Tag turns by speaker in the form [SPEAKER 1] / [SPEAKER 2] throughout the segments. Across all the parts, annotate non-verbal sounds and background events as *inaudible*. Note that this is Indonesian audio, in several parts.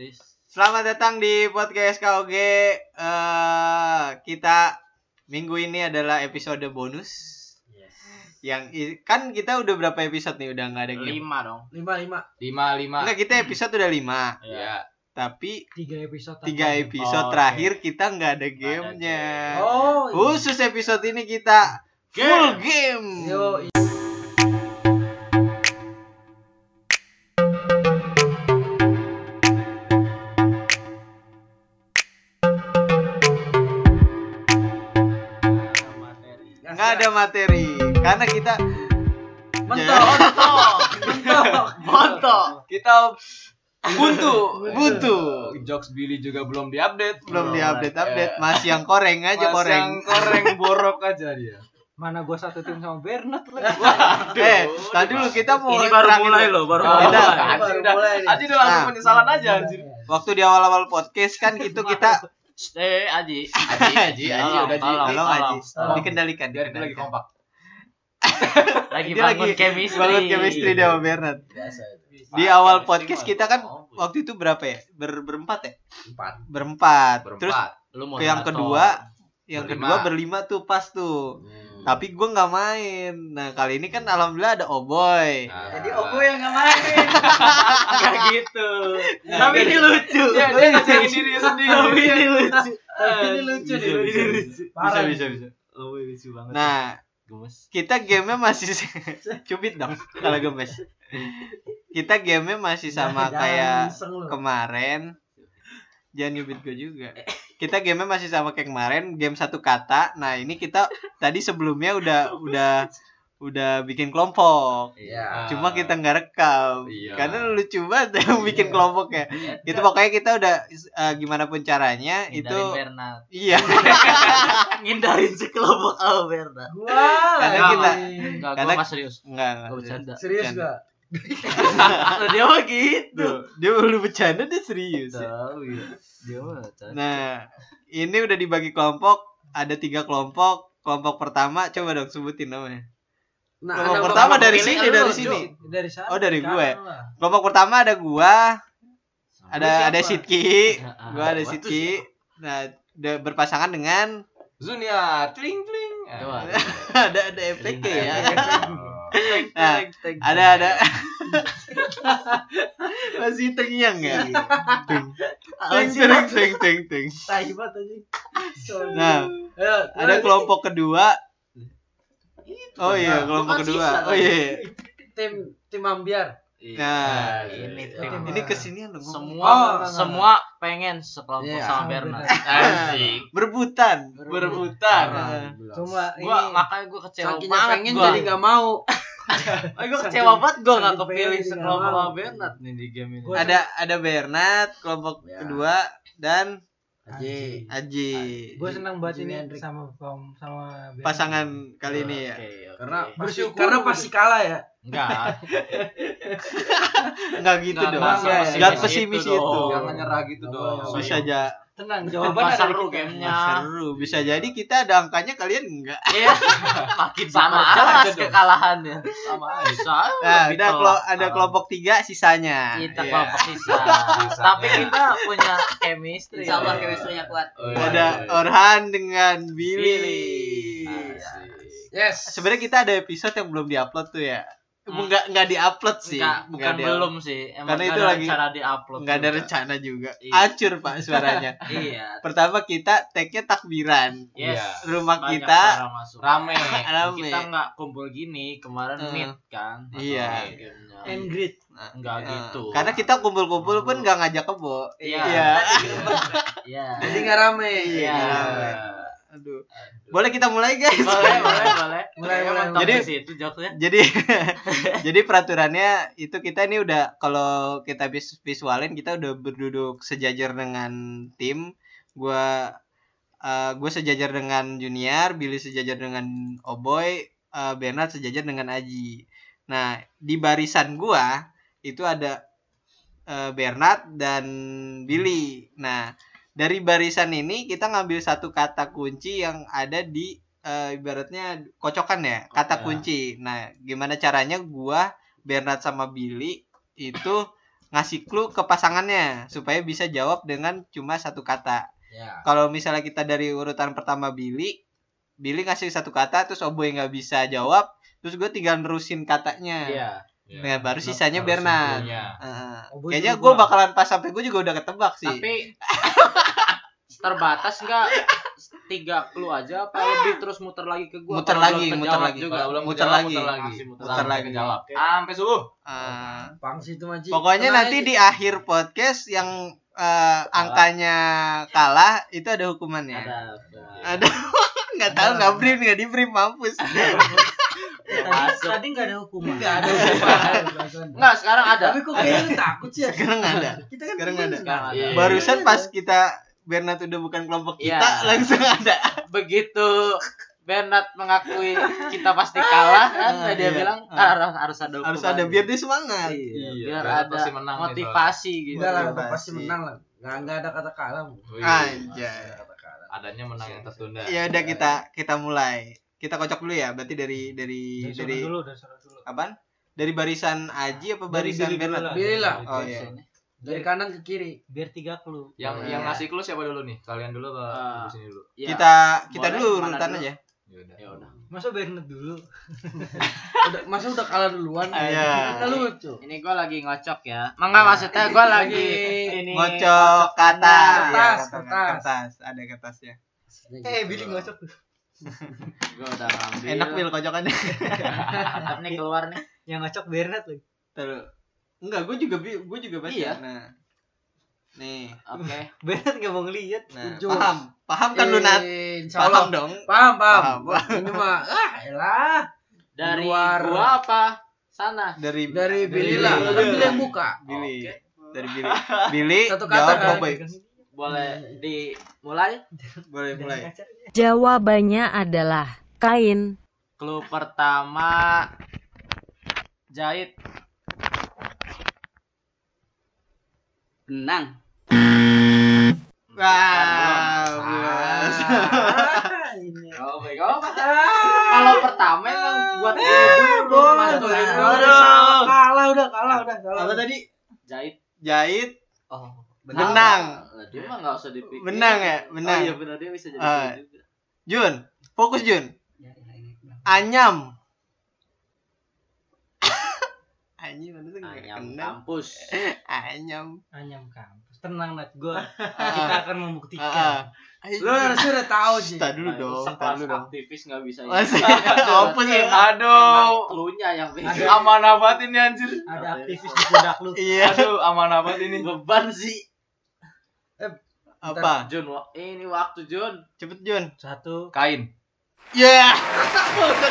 [SPEAKER 1] Please.
[SPEAKER 2] Selamat datang di podcast KOG. Eh, kita minggu ini adalah episode bonus
[SPEAKER 1] Yes.
[SPEAKER 2] yang i- kan kita udah berapa episode nih udah nggak ada game.
[SPEAKER 1] Lima dong.
[SPEAKER 3] lima lima
[SPEAKER 1] Lima lima.
[SPEAKER 2] Enggak kita episode udah 5
[SPEAKER 1] Ya.
[SPEAKER 2] tapi
[SPEAKER 3] tiga episode
[SPEAKER 2] tiga
[SPEAKER 3] tanpa
[SPEAKER 2] episode
[SPEAKER 1] Oh, oke.
[SPEAKER 2] terakhir kita nggak ada
[SPEAKER 1] game.
[SPEAKER 2] gamenya.
[SPEAKER 3] game. oh
[SPEAKER 2] Khusus episode ini kita full game.
[SPEAKER 3] yo iya.
[SPEAKER 1] Materi.
[SPEAKER 2] Nggak ada materi karena kita
[SPEAKER 3] mentok
[SPEAKER 2] *laughs*
[SPEAKER 3] mentok
[SPEAKER 1] Montok.
[SPEAKER 2] kita buntu buntu
[SPEAKER 1] Jokes Billy juga belum diupdate.
[SPEAKER 2] belum diupdate update
[SPEAKER 1] Eh,
[SPEAKER 2] masih yang koreng
[SPEAKER 1] Mas
[SPEAKER 2] aja koreng.
[SPEAKER 1] yang koreng borok aja
[SPEAKER 3] *laughs*
[SPEAKER 1] dia.
[SPEAKER 3] mana gua satu tim sama Bernard lagi
[SPEAKER 2] eh, tadi dulu kita mau
[SPEAKER 4] Ini baru
[SPEAKER 2] terangin
[SPEAKER 4] mulai
[SPEAKER 2] dulu.
[SPEAKER 4] loh, baru
[SPEAKER 2] Oh,
[SPEAKER 4] mulai.
[SPEAKER 2] udah.
[SPEAKER 1] anjing udah.
[SPEAKER 3] mulai nih. Iya,
[SPEAKER 1] Anjing udah langsung
[SPEAKER 2] Nah.
[SPEAKER 1] penyesalan aja anjir.
[SPEAKER 2] Waktu di awal-awal podcast kan itu kita
[SPEAKER 4] Eh,
[SPEAKER 2] *laughs*
[SPEAKER 4] Aji.
[SPEAKER 2] Aji,
[SPEAKER 1] Aji, udah, Ji.
[SPEAKER 4] tolong,
[SPEAKER 2] Tolong, Aji.
[SPEAKER 4] tolong.
[SPEAKER 2] dikendalikan,
[SPEAKER 1] Biar kita lagi
[SPEAKER 2] dikendalikan.
[SPEAKER 1] kompak.
[SPEAKER 4] Lagi
[SPEAKER 2] Dia
[SPEAKER 4] bangun
[SPEAKER 2] lagi
[SPEAKER 4] chemistry.
[SPEAKER 2] Bangun chemistry dia sama Bernard.
[SPEAKER 1] Biasa itu.
[SPEAKER 2] Di awal podcast kita kan waktu itu berapa ya? Ber berempat ya?
[SPEAKER 1] empat.
[SPEAKER 2] Berempat. Terus
[SPEAKER 1] Berempat.
[SPEAKER 4] Lu
[SPEAKER 2] ke yang
[SPEAKER 4] moderator.
[SPEAKER 2] kedua, yang
[SPEAKER 1] Berlima.
[SPEAKER 2] kedua berlima tuh pas tuh.
[SPEAKER 1] Hmm.
[SPEAKER 2] Tapi gua nggak main. Nah, kali ini kan alhamdulillah ada Oboy.
[SPEAKER 1] Nah.
[SPEAKER 3] jadi
[SPEAKER 4] Ah.
[SPEAKER 3] Ogo yang nggak
[SPEAKER 2] Eh,
[SPEAKER 3] main
[SPEAKER 4] Nggak gitu.
[SPEAKER 2] Nah,
[SPEAKER 4] Tapi ini lucu.
[SPEAKER 1] Dia dia ngajarin diri
[SPEAKER 4] Tapi
[SPEAKER 1] sendiri.
[SPEAKER 4] ini lucu.
[SPEAKER 3] Tapi ini lucu nih lucu
[SPEAKER 2] Bisa
[SPEAKER 3] Parah.
[SPEAKER 2] bisa bisa.
[SPEAKER 4] Oh, lucu banget.
[SPEAKER 2] Nah,
[SPEAKER 4] gemes.
[SPEAKER 2] kita gamenya masih *laughs* cubit dong kalau gemes kita gamenya masih sama
[SPEAKER 3] Nah, Jangan
[SPEAKER 2] kayak
[SPEAKER 3] iseng lu.
[SPEAKER 2] kemarin jangan nyubit gue juga kita gamenya masih sama kayak kemarin game satu kata nah ini kita tadi sebelumnya udah udah udah bikin kelompok
[SPEAKER 4] Ah.
[SPEAKER 1] Iya.
[SPEAKER 2] cuma kita nggak rekam
[SPEAKER 1] Iya.
[SPEAKER 2] karena lucu banget *laughs* yang bikin kelompoknya itu pokoknya kita udah eh, gimana pun caranya itu
[SPEAKER 4] Ngindarin Bernard.
[SPEAKER 2] iya *laughs*
[SPEAKER 4] Ngindarin si kelompok sama Bernard.
[SPEAKER 3] gua
[SPEAKER 2] Karena
[SPEAKER 3] lagi.
[SPEAKER 2] kita-
[SPEAKER 4] Enggak,
[SPEAKER 2] Karena-
[SPEAKER 4] gua mah serius.
[SPEAKER 2] nggak
[SPEAKER 4] Gua bercanda.
[SPEAKER 3] serius
[SPEAKER 2] Bercanda.
[SPEAKER 3] gua
[SPEAKER 4] Lah, Dia mah gitu.
[SPEAKER 2] Tuh, dia baru bercanda dia serius ya.
[SPEAKER 3] Nah.
[SPEAKER 4] Tahu ya. Dia mah bercanda.
[SPEAKER 2] Nah, ini udah dibagi kelompok, ada tiga kelompok. Kelompok pertama, coba dong sebutin namanya.
[SPEAKER 3] nah
[SPEAKER 2] Kelompok
[SPEAKER 3] anak
[SPEAKER 2] pertama
[SPEAKER 3] gua
[SPEAKER 2] dari
[SPEAKER 3] pilih
[SPEAKER 2] sini,
[SPEAKER 3] kan
[SPEAKER 2] dari
[SPEAKER 3] lu,
[SPEAKER 2] sini.
[SPEAKER 3] Jo. dari sana
[SPEAKER 2] Oh, dari
[SPEAKER 3] sekarang
[SPEAKER 2] gue.
[SPEAKER 3] lah.
[SPEAKER 2] Kelompok pertama ada gua, ada
[SPEAKER 3] siapa?
[SPEAKER 2] ada Sidki,
[SPEAKER 3] *laughs*
[SPEAKER 4] Ah,
[SPEAKER 2] gua ada
[SPEAKER 4] waktu
[SPEAKER 2] Sidki. Nah, udah berpasangan dengan *laughs*
[SPEAKER 1] Zunia, tling tling.
[SPEAKER 4] Coba.
[SPEAKER 2] ada ada FTK
[SPEAKER 4] Iya,
[SPEAKER 2] ya. Nah,
[SPEAKER 4] Teng,
[SPEAKER 2] ada ada *laughs* masih tengyang ya.
[SPEAKER 3] Iya.
[SPEAKER 2] Teng teng teng teng teng. teng.
[SPEAKER 3] Tai banget anjing. Sorry.
[SPEAKER 2] Nah,
[SPEAKER 3] Ayo,
[SPEAKER 2] ada
[SPEAKER 3] terus.
[SPEAKER 2] kelompok kedua. Oh iya,
[SPEAKER 3] Nah,
[SPEAKER 2] kelompok
[SPEAKER 4] bukan
[SPEAKER 2] kedua.
[SPEAKER 4] sisa.
[SPEAKER 2] Oh iya. iya.
[SPEAKER 3] tim tim ambiar
[SPEAKER 4] Iya.
[SPEAKER 2] *laughs* Nah,
[SPEAKER 4] ini
[SPEAKER 3] tim.
[SPEAKER 4] tim.
[SPEAKER 2] ini kesinian loh. ngomong.
[SPEAKER 4] semua
[SPEAKER 3] Oh, enggak, enggak,
[SPEAKER 4] semua pengen sekelompok
[SPEAKER 1] Iya.
[SPEAKER 4] sama
[SPEAKER 3] Sama
[SPEAKER 4] Bernard.
[SPEAKER 1] Anjing.
[SPEAKER 2] Berbutan.
[SPEAKER 1] Berebutan.
[SPEAKER 2] Ah.
[SPEAKER 3] cuma
[SPEAKER 4] Gua
[SPEAKER 3] ini
[SPEAKER 4] makanya gua kecewa
[SPEAKER 3] Iya. Saking
[SPEAKER 4] banget
[SPEAKER 3] pengen
[SPEAKER 4] gua.
[SPEAKER 3] jadi nggak mau
[SPEAKER 4] *laughs* Makanya gua
[SPEAKER 3] saking-
[SPEAKER 4] kecewa banget gua enggak
[SPEAKER 3] saking
[SPEAKER 4] kepilih
[SPEAKER 3] pengen jadi
[SPEAKER 4] sekelompok
[SPEAKER 3] nggak mau.
[SPEAKER 4] sama Bernard nih di game ini.
[SPEAKER 3] Gua-
[SPEAKER 2] ada ada Bernard kelompok
[SPEAKER 1] Ya.
[SPEAKER 2] kedua dan
[SPEAKER 1] Aji.
[SPEAKER 2] Aji.
[SPEAKER 3] gue senang banget
[SPEAKER 1] Jimi
[SPEAKER 3] ini
[SPEAKER 1] Hendrix.
[SPEAKER 3] sama Bom sama Bernard.
[SPEAKER 2] Pasangan kali ini ya.
[SPEAKER 4] Oke, oke.
[SPEAKER 1] Karena
[SPEAKER 3] Bersyukur.
[SPEAKER 1] bersyukur.
[SPEAKER 3] karena pasti kalah ya
[SPEAKER 4] enggak
[SPEAKER 2] Enggak
[SPEAKER 1] Nah,
[SPEAKER 2] gitu
[SPEAKER 4] Nggak,
[SPEAKER 2] dong.
[SPEAKER 4] nggak
[SPEAKER 2] Enggak
[SPEAKER 3] sepesimis
[SPEAKER 2] jangan pesimis
[SPEAKER 4] itu
[SPEAKER 2] itu.
[SPEAKER 4] dong.
[SPEAKER 1] Jangan nyerah gitu dong.
[SPEAKER 3] Nggak boleh,
[SPEAKER 2] Bisa aja
[SPEAKER 3] tenang
[SPEAKER 4] Pas
[SPEAKER 3] jawaban ada
[SPEAKER 4] seru
[SPEAKER 3] di kita.
[SPEAKER 4] gamenya. Ya.
[SPEAKER 2] seru. Bisa jadi kita ada angkanya kalian enggak.
[SPEAKER 4] Iya. makin sama
[SPEAKER 1] aja
[SPEAKER 4] jelas
[SPEAKER 1] dong.
[SPEAKER 4] kekalahannya
[SPEAKER 1] sama aja.
[SPEAKER 4] bisa
[SPEAKER 2] Nah,
[SPEAKER 4] lebih
[SPEAKER 2] ada
[SPEAKER 4] telat.
[SPEAKER 2] kelo- ada kelompok tiga sisanya.
[SPEAKER 4] kita
[SPEAKER 2] Iya.
[SPEAKER 4] kelompok sisa
[SPEAKER 1] Sisa.
[SPEAKER 4] tapi kita punya chemistry
[SPEAKER 1] Insya Allah
[SPEAKER 4] chemistry-nya kuat
[SPEAKER 2] Ada Orhan dengan Billy. Iya.
[SPEAKER 1] Yes.
[SPEAKER 2] Sebenarnya kita ada episode yang belum diupload tuh ya.
[SPEAKER 4] Hmm.
[SPEAKER 2] Enggak enggak diupload sih.
[SPEAKER 4] Enggak, bukan
[SPEAKER 2] Nggak di-
[SPEAKER 4] belum sih emang
[SPEAKER 2] Karena
[SPEAKER 4] nggak
[SPEAKER 2] itu
[SPEAKER 4] ada
[SPEAKER 2] lagi-
[SPEAKER 4] cara di upload
[SPEAKER 2] Enggak ada rencana juga.
[SPEAKER 4] Iya.
[SPEAKER 2] Acur Pak
[SPEAKER 4] *laughs*
[SPEAKER 2] suaranya.
[SPEAKER 4] iya
[SPEAKER 2] Pertama kita tag-nya takbiran.
[SPEAKER 4] yes
[SPEAKER 1] Iya.
[SPEAKER 2] Rumah
[SPEAKER 4] Banyak
[SPEAKER 2] kita
[SPEAKER 4] orang masuk.
[SPEAKER 1] Rame.
[SPEAKER 2] Rame.
[SPEAKER 4] kita nggak kumpul gini kemarin
[SPEAKER 2] Eh.
[SPEAKER 4] meet kan
[SPEAKER 2] Iya.
[SPEAKER 4] Atau gamenya.
[SPEAKER 3] and greet
[SPEAKER 4] nggak
[SPEAKER 2] Nah,
[SPEAKER 4] gitu
[SPEAKER 2] Karena kita kumpul-kumpul pun gak ngajak kebo.
[SPEAKER 4] Iya. iya
[SPEAKER 3] jadi nggak rame
[SPEAKER 2] *laughs*
[SPEAKER 4] iya
[SPEAKER 2] Iya. Aduh. Boleh kita mulai guys.
[SPEAKER 4] boleh boleh boleh
[SPEAKER 3] Mulai,
[SPEAKER 4] Kayaknya
[SPEAKER 3] mulai,
[SPEAKER 4] mentok
[SPEAKER 2] mulai.
[SPEAKER 4] di situ jokesnya
[SPEAKER 2] Jadi *laughs* jadi peraturannya itu kita ini udah kalau kita vis- visualin kita udah berduduk sejajar dengan tim. Gua eh, gue sejajar dengan Junior, Billy sejajar dengan Oboy, eh, Bernard sejajar dengan Aji. Nah, di barisan gua itu ada eh, Bernard dan Billy. Nah, dari barisan ini kita ngambil satu kata kunci yang ada di eh, ibaratnya kocokan ya, kata
[SPEAKER 1] Ya.
[SPEAKER 2] kunci. Nah, gimana caranya gua Bernard sama Billy itu ngasih clue ke pasangannya supaya bisa jawab dengan cuma satu kata.
[SPEAKER 1] Ya.
[SPEAKER 4] Iya.
[SPEAKER 2] Kalau misalnya kita dari urutan pertama Billy, Billy ngasih satu kata terus Oboy nggak bisa jawab, terus gue tinggal nerusin katanya.
[SPEAKER 4] Iya.
[SPEAKER 2] Nah, baru
[SPEAKER 1] Harus
[SPEAKER 2] sisanya Bernard.
[SPEAKER 1] simpulnya.
[SPEAKER 2] Heeh.
[SPEAKER 3] Oboy
[SPEAKER 2] Kayaknya
[SPEAKER 3] Oh, juga
[SPEAKER 2] gue
[SPEAKER 3] kurang.
[SPEAKER 2] bakalan pas sampai gue juga udah ketebak sih.
[SPEAKER 4] Tapi terbatas nggak tiga clue aja apa lebih terus muter lagi ke
[SPEAKER 2] Eh.
[SPEAKER 4] gua
[SPEAKER 2] Muter
[SPEAKER 4] Kalau
[SPEAKER 2] lagi,
[SPEAKER 4] belum
[SPEAKER 2] muter
[SPEAKER 4] terjawab
[SPEAKER 2] lagi.
[SPEAKER 4] juga.
[SPEAKER 1] Kalau belum
[SPEAKER 2] Muter
[SPEAKER 1] kejawab,
[SPEAKER 2] lagi.
[SPEAKER 1] muter lagi.
[SPEAKER 4] Masih muter
[SPEAKER 1] Sampai
[SPEAKER 2] lagi.
[SPEAKER 1] kejawab.
[SPEAKER 4] Oke.
[SPEAKER 1] Sampai subuh.
[SPEAKER 2] Eh,
[SPEAKER 3] Pang sih itu Maji.
[SPEAKER 2] Pokoknya
[SPEAKER 3] oh, Tenang
[SPEAKER 2] nanti
[SPEAKER 3] aja.
[SPEAKER 2] di akhir podcast yang eh, angkanya kalah itu ada hukumannya.
[SPEAKER 4] Iya.
[SPEAKER 2] Ada.
[SPEAKER 4] ada
[SPEAKER 2] *laughs* nggak tahu
[SPEAKER 3] Ada.
[SPEAKER 2] nggak brief nggak di brief mampus.
[SPEAKER 3] tadi,
[SPEAKER 4] masuk.
[SPEAKER 3] tadi nggak ada hukuman.
[SPEAKER 4] Nggak
[SPEAKER 3] ada hukuman.
[SPEAKER 4] nggak sekarang ada
[SPEAKER 3] Tapi kok kayaknya lu takut sih. ya?
[SPEAKER 2] Sekarang ada.
[SPEAKER 3] Kita kan
[SPEAKER 2] Sekarang
[SPEAKER 3] temen.
[SPEAKER 2] ada.
[SPEAKER 4] Sekarang ada.
[SPEAKER 1] Iya.
[SPEAKER 2] Barusan pas kita Bernard udah bukan kelompok kita
[SPEAKER 4] Iya.
[SPEAKER 2] langsung ada.
[SPEAKER 4] begitu Bernard mengakui kita pasti kalah kan
[SPEAKER 2] Ah, iya.
[SPEAKER 4] dia bilang
[SPEAKER 2] Ah.
[SPEAKER 4] harus harus ada
[SPEAKER 2] Harus
[SPEAKER 4] hukuman."
[SPEAKER 2] ada biar dia semangat.
[SPEAKER 4] Iya,
[SPEAKER 1] Iya,
[SPEAKER 4] biar
[SPEAKER 1] Bernard
[SPEAKER 4] ada
[SPEAKER 1] pasti menang nih
[SPEAKER 4] motivasi
[SPEAKER 2] Iya,
[SPEAKER 4] gitu
[SPEAKER 3] Enggak lah,
[SPEAKER 2] Motivasi.
[SPEAKER 3] pasti menang lah. Nggak nggak ada kata kalah. Bu.
[SPEAKER 1] Wih,
[SPEAKER 3] Nggak ada
[SPEAKER 2] Anjay.
[SPEAKER 3] kata kalah.
[SPEAKER 1] Oh, iya. Adanya menang yang tertunda.
[SPEAKER 2] Ya udah kita kita mulai. Kita kocok dulu ya. Berarti dari dari
[SPEAKER 5] Dari
[SPEAKER 2] dari
[SPEAKER 5] suara dulu, dari suara dulu.
[SPEAKER 2] apaan? Dari barisan Aji apa
[SPEAKER 5] Dari
[SPEAKER 2] barisan
[SPEAKER 5] Billy dulu
[SPEAKER 2] Bernard?
[SPEAKER 5] lah.
[SPEAKER 3] Billy lah.
[SPEAKER 2] Oh iya.
[SPEAKER 3] Dari kanan ke kiri.
[SPEAKER 5] Biar tiga clue.
[SPEAKER 1] Yang
[SPEAKER 2] Iya.
[SPEAKER 1] yang ngasih clue siapa dulu nih? Kalian dulu apa
[SPEAKER 4] Ah.
[SPEAKER 1] di sini dulu?
[SPEAKER 4] Iya.
[SPEAKER 2] Kita kita
[SPEAKER 4] Boleh,
[SPEAKER 2] dulu
[SPEAKER 4] mana
[SPEAKER 2] urutan
[SPEAKER 4] dulu?
[SPEAKER 2] aja.
[SPEAKER 1] Ya udah.
[SPEAKER 4] ya udah
[SPEAKER 5] Masa Bernard dulu?
[SPEAKER 3] *laughs* Udah, masa udah kalah duluan.
[SPEAKER 2] Iya.
[SPEAKER 3] Kita lucu.
[SPEAKER 4] ini gue lagi ngocok ya enggak maksudnya
[SPEAKER 2] *laughs*
[SPEAKER 4] gue lagi ini
[SPEAKER 2] Ngocok kata. Iya,
[SPEAKER 3] Kertas,
[SPEAKER 2] kata-
[SPEAKER 3] kertas.
[SPEAKER 2] kertas. ya. Ada kertasnya.
[SPEAKER 3] Eh,
[SPEAKER 5] Billy
[SPEAKER 2] Gitu.
[SPEAKER 5] ngocok.
[SPEAKER 4] gue udah ngambil
[SPEAKER 2] Enak Bil *laughs* kocokannya.
[SPEAKER 4] Mantap nih keluar nih
[SPEAKER 5] Yang ngocok Bernard lagi.
[SPEAKER 2] Terus. Enggak, gue juga bi- gue juga baca.
[SPEAKER 4] Iya.
[SPEAKER 2] Nah. Nih.
[SPEAKER 4] oke
[SPEAKER 5] Bernard nggak mau ngeliat.
[SPEAKER 2] Nah,
[SPEAKER 3] Jujur.
[SPEAKER 2] paham. Paham kan Lunat? Paham
[SPEAKER 3] Paham,
[SPEAKER 2] dong.
[SPEAKER 3] Eh, paham,
[SPEAKER 2] Paham.
[SPEAKER 3] paham. Ini mah ah, elah.
[SPEAKER 4] dari
[SPEAKER 3] Luar.
[SPEAKER 4] gua apa sana
[SPEAKER 2] Dari
[SPEAKER 3] Dari
[SPEAKER 2] Billy
[SPEAKER 3] Billy lah.
[SPEAKER 2] lah.
[SPEAKER 3] Kan Billy yang buka.
[SPEAKER 2] Billy. Dari *laughs* Billy. Billy
[SPEAKER 3] Satu kata
[SPEAKER 2] jawab
[SPEAKER 3] kan?
[SPEAKER 2] Boboy. Iya,
[SPEAKER 4] boleh dimulai
[SPEAKER 2] Boleh mulai.
[SPEAKER 6] Jawabannya adalah kain.
[SPEAKER 4] clue pertama jahit benang
[SPEAKER 2] Wah.
[SPEAKER 4] Belum.
[SPEAKER 3] Ah, ini. Ah.
[SPEAKER 4] Oh my god. Kalau pertama emang buat
[SPEAKER 3] Bola,
[SPEAKER 4] Masuk
[SPEAKER 3] bola,
[SPEAKER 4] aja.
[SPEAKER 3] bola,
[SPEAKER 2] Aduh.
[SPEAKER 3] salah, Kalah udah, kalah udah. kalah.
[SPEAKER 2] Apa tadi?
[SPEAKER 4] Jahit.
[SPEAKER 2] *laughs* Jahit
[SPEAKER 4] Oh,
[SPEAKER 2] benang.
[SPEAKER 4] Lah, Dia mah enggak usah dipikir.
[SPEAKER 2] Benang ya? Benang.
[SPEAKER 4] Oh, iya benar dia bisa jadi.
[SPEAKER 2] Ah.
[SPEAKER 4] gitu juga.
[SPEAKER 2] Jun, fokus Jun. Anyam. *laughs* Anjing mana tuh nggak
[SPEAKER 4] Anyam
[SPEAKER 2] kena.
[SPEAKER 4] Ah, kampus.
[SPEAKER 2] Anyam.
[SPEAKER 5] Anyam kampus. Tenang Nat,
[SPEAKER 3] *laughs*
[SPEAKER 5] gua kita
[SPEAKER 2] Ah,
[SPEAKER 5] akan
[SPEAKER 2] ah, ah.
[SPEAKER 5] membuktikan.
[SPEAKER 2] Ayo,
[SPEAKER 3] Lu harusnya udah tahu sih.
[SPEAKER 2] Tar dulu
[SPEAKER 4] Nah, itu
[SPEAKER 2] dong, tar
[SPEAKER 4] sekelas
[SPEAKER 2] dulu *laughs* dong.
[SPEAKER 4] Aktivis enggak bisa.
[SPEAKER 2] Masih mampus ya.
[SPEAKER 1] Aduh.
[SPEAKER 4] Klunya yang
[SPEAKER 5] Ada.
[SPEAKER 1] Amanah banget ini anjir.
[SPEAKER 5] Ada
[SPEAKER 3] ya?
[SPEAKER 5] aktivis di pundak lu.
[SPEAKER 2] Iya,
[SPEAKER 1] Aduh, amanah banget ini.
[SPEAKER 4] beban sih.
[SPEAKER 2] apa?
[SPEAKER 4] Jun, wa- ini waktu Jun.
[SPEAKER 2] Cepet Jun.
[SPEAKER 5] Satu.
[SPEAKER 1] Kain.
[SPEAKER 2] Ya. Udah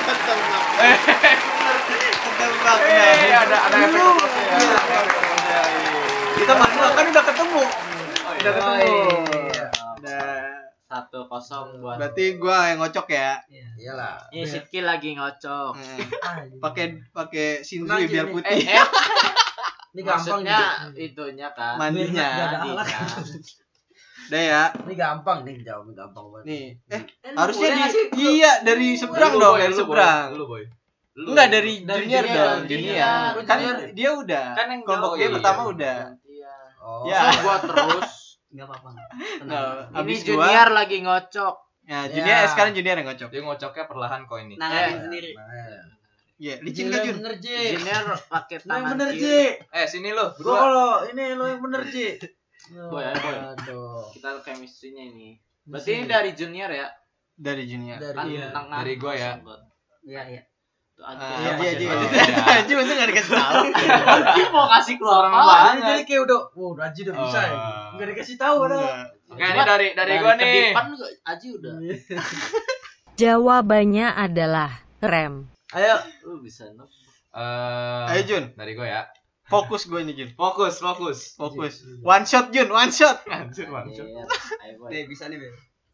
[SPEAKER 2] ketebak. Ketebak.
[SPEAKER 1] Eh,
[SPEAKER 2] nah.
[SPEAKER 1] ada ada efek.
[SPEAKER 2] Lu.
[SPEAKER 1] Ya, ada efek komposnya, iya.
[SPEAKER 2] Kita manual kan udah ketemu.
[SPEAKER 4] Oh,
[SPEAKER 2] Udah
[SPEAKER 4] iya.
[SPEAKER 2] ketemu.
[SPEAKER 3] iya.
[SPEAKER 2] Udah.
[SPEAKER 4] Satu kosong buat.
[SPEAKER 2] Berarti gua yang ngocok ya.
[SPEAKER 3] Iyalah.
[SPEAKER 5] Iya,
[SPEAKER 3] Iya.
[SPEAKER 4] Ini Sidki lagi ngocok.
[SPEAKER 2] Hmm.
[SPEAKER 3] Ah, ini.
[SPEAKER 2] Pakai pakai sinzui
[SPEAKER 3] Tenang, Jun,
[SPEAKER 2] biar
[SPEAKER 3] nih.
[SPEAKER 2] putih.
[SPEAKER 4] Eh, eh,
[SPEAKER 3] Ini gampang nih.
[SPEAKER 4] maksudnya itunya kan.
[SPEAKER 2] Mandinya.
[SPEAKER 5] Ada
[SPEAKER 4] Mandinya.
[SPEAKER 5] alat.
[SPEAKER 2] Udah ya.
[SPEAKER 3] Ini gampang nih jawabnya gampang banget.
[SPEAKER 2] Nih. Eh,
[SPEAKER 4] Eh,
[SPEAKER 2] harusnya
[SPEAKER 4] boleh
[SPEAKER 2] di
[SPEAKER 4] nggak sih?
[SPEAKER 2] iya dari seberang
[SPEAKER 1] Lu,
[SPEAKER 2] dong,
[SPEAKER 1] Boy,
[SPEAKER 2] dari
[SPEAKER 1] lu, Boy.
[SPEAKER 2] seberang.
[SPEAKER 1] Lu, Boy. Lu.
[SPEAKER 2] Enggak dari,
[SPEAKER 3] Dari
[SPEAKER 2] junior,
[SPEAKER 3] junior,
[SPEAKER 2] dong,
[SPEAKER 4] dari
[SPEAKER 2] junior.
[SPEAKER 4] junior.
[SPEAKER 2] Kan
[SPEAKER 3] Junior.
[SPEAKER 2] dia udah.
[SPEAKER 4] Kan yang
[SPEAKER 2] kelompok
[SPEAKER 1] jauh,
[SPEAKER 2] dia
[SPEAKER 1] iya.
[SPEAKER 2] pertama udah.
[SPEAKER 3] Oh.
[SPEAKER 2] Ya.
[SPEAKER 4] Ya. gua terus.
[SPEAKER 5] Enggak apa-apa.
[SPEAKER 2] Nah,
[SPEAKER 4] Ini
[SPEAKER 2] abis gua,
[SPEAKER 4] junior lagi ngocok.
[SPEAKER 2] Ya, junior
[SPEAKER 3] Ya.
[SPEAKER 2] sekarang junior yang ngocok.
[SPEAKER 1] Dia ngocoknya perlahan kok ini.
[SPEAKER 4] Nanganin
[SPEAKER 3] Eh,
[SPEAKER 4] sendiri.
[SPEAKER 3] nah.
[SPEAKER 2] Iya, licin
[SPEAKER 3] Lu
[SPEAKER 2] gak
[SPEAKER 3] yang
[SPEAKER 2] Jun? Iya.
[SPEAKER 3] bener, Ji.
[SPEAKER 4] Junior pakai
[SPEAKER 3] Lu yang
[SPEAKER 4] tangan
[SPEAKER 3] bener,
[SPEAKER 4] kiri.
[SPEAKER 3] Ji.
[SPEAKER 1] Eh, sini lu.
[SPEAKER 3] Gua
[SPEAKER 1] Berdua.
[SPEAKER 3] kalau ini lu yang bener, Ji.
[SPEAKER 4] Boy, ayo, Boy.
[SPEAKER 3] Aduh.
[SPEAKER 4] Kita chemistry-nya ini. Berarti ini dari junior ya?
[SPEAKER 2] Dari junior.
[SPEAKER 3] Dari
[SPEAKER 4] Kan
[SPEAKER 5] Iya.
[SPEAKER 4] tengah.
[SPEAKER 1] Dari gua ya.
[SPEAKER 3] Iya, iya.
[SPEAKER 4] Tuh, Aji.
[SPEAKER 2] Ah,
[SPEAKER 5] Iya,
[SPEAKER 2] Aji, Aji,
[SPEAKER 1] iya.
[SPEAKER 2] Aji.
[SPEAKER 1] Iya.
[SPEAKER 2] Aji untung gak dikasih tahu.
[SPEAKER 4] Aji mau kasih keluar
[SPEAKER 1] Serem
[SPEAKER 4] apa?
[SPEAKER 1] banget.
[SPEAKER 3] Jadi jadi kayak udah, wow, Raji udah bisa ya.
[SPEAKER 1] Oh.
[SPEAKER 3] Enggak dikasih tahu
[SPEAKER 2] Enggak.
[SPEAKER 3] padahal.
[SPEAKER 1] Oke, ini dari dari
[SPEAKER 4] Nah,
[SPEAKER 1] gua nih.
[SPEAKER 4] kedipan juga Aji udah.
[SPEAKER 6] Jawabannya adalah rem.
[SPEAKER 3] Ayo,
[SPEAKER 4] Lu bisa nebak.
[SPEAKER 1] Eh,
[SPEAKER 2] Ayo Jun,
[SPEAKER 1] dari gua ya.
[SPEAKER 2] fokus gue ini Jun.
[SPEAKER 1] Fokus, fokus.
[SPEAKER 2] Fokus. One shot Jun, one shot.
[SPEAKER 1] Anjir,
[SPEAKER 4] Anjir.
[SPEAKER 1] anjir.
[SPEAKER 4] Ayo, Boy.
[SPEAKER 2] bisa nih, Be.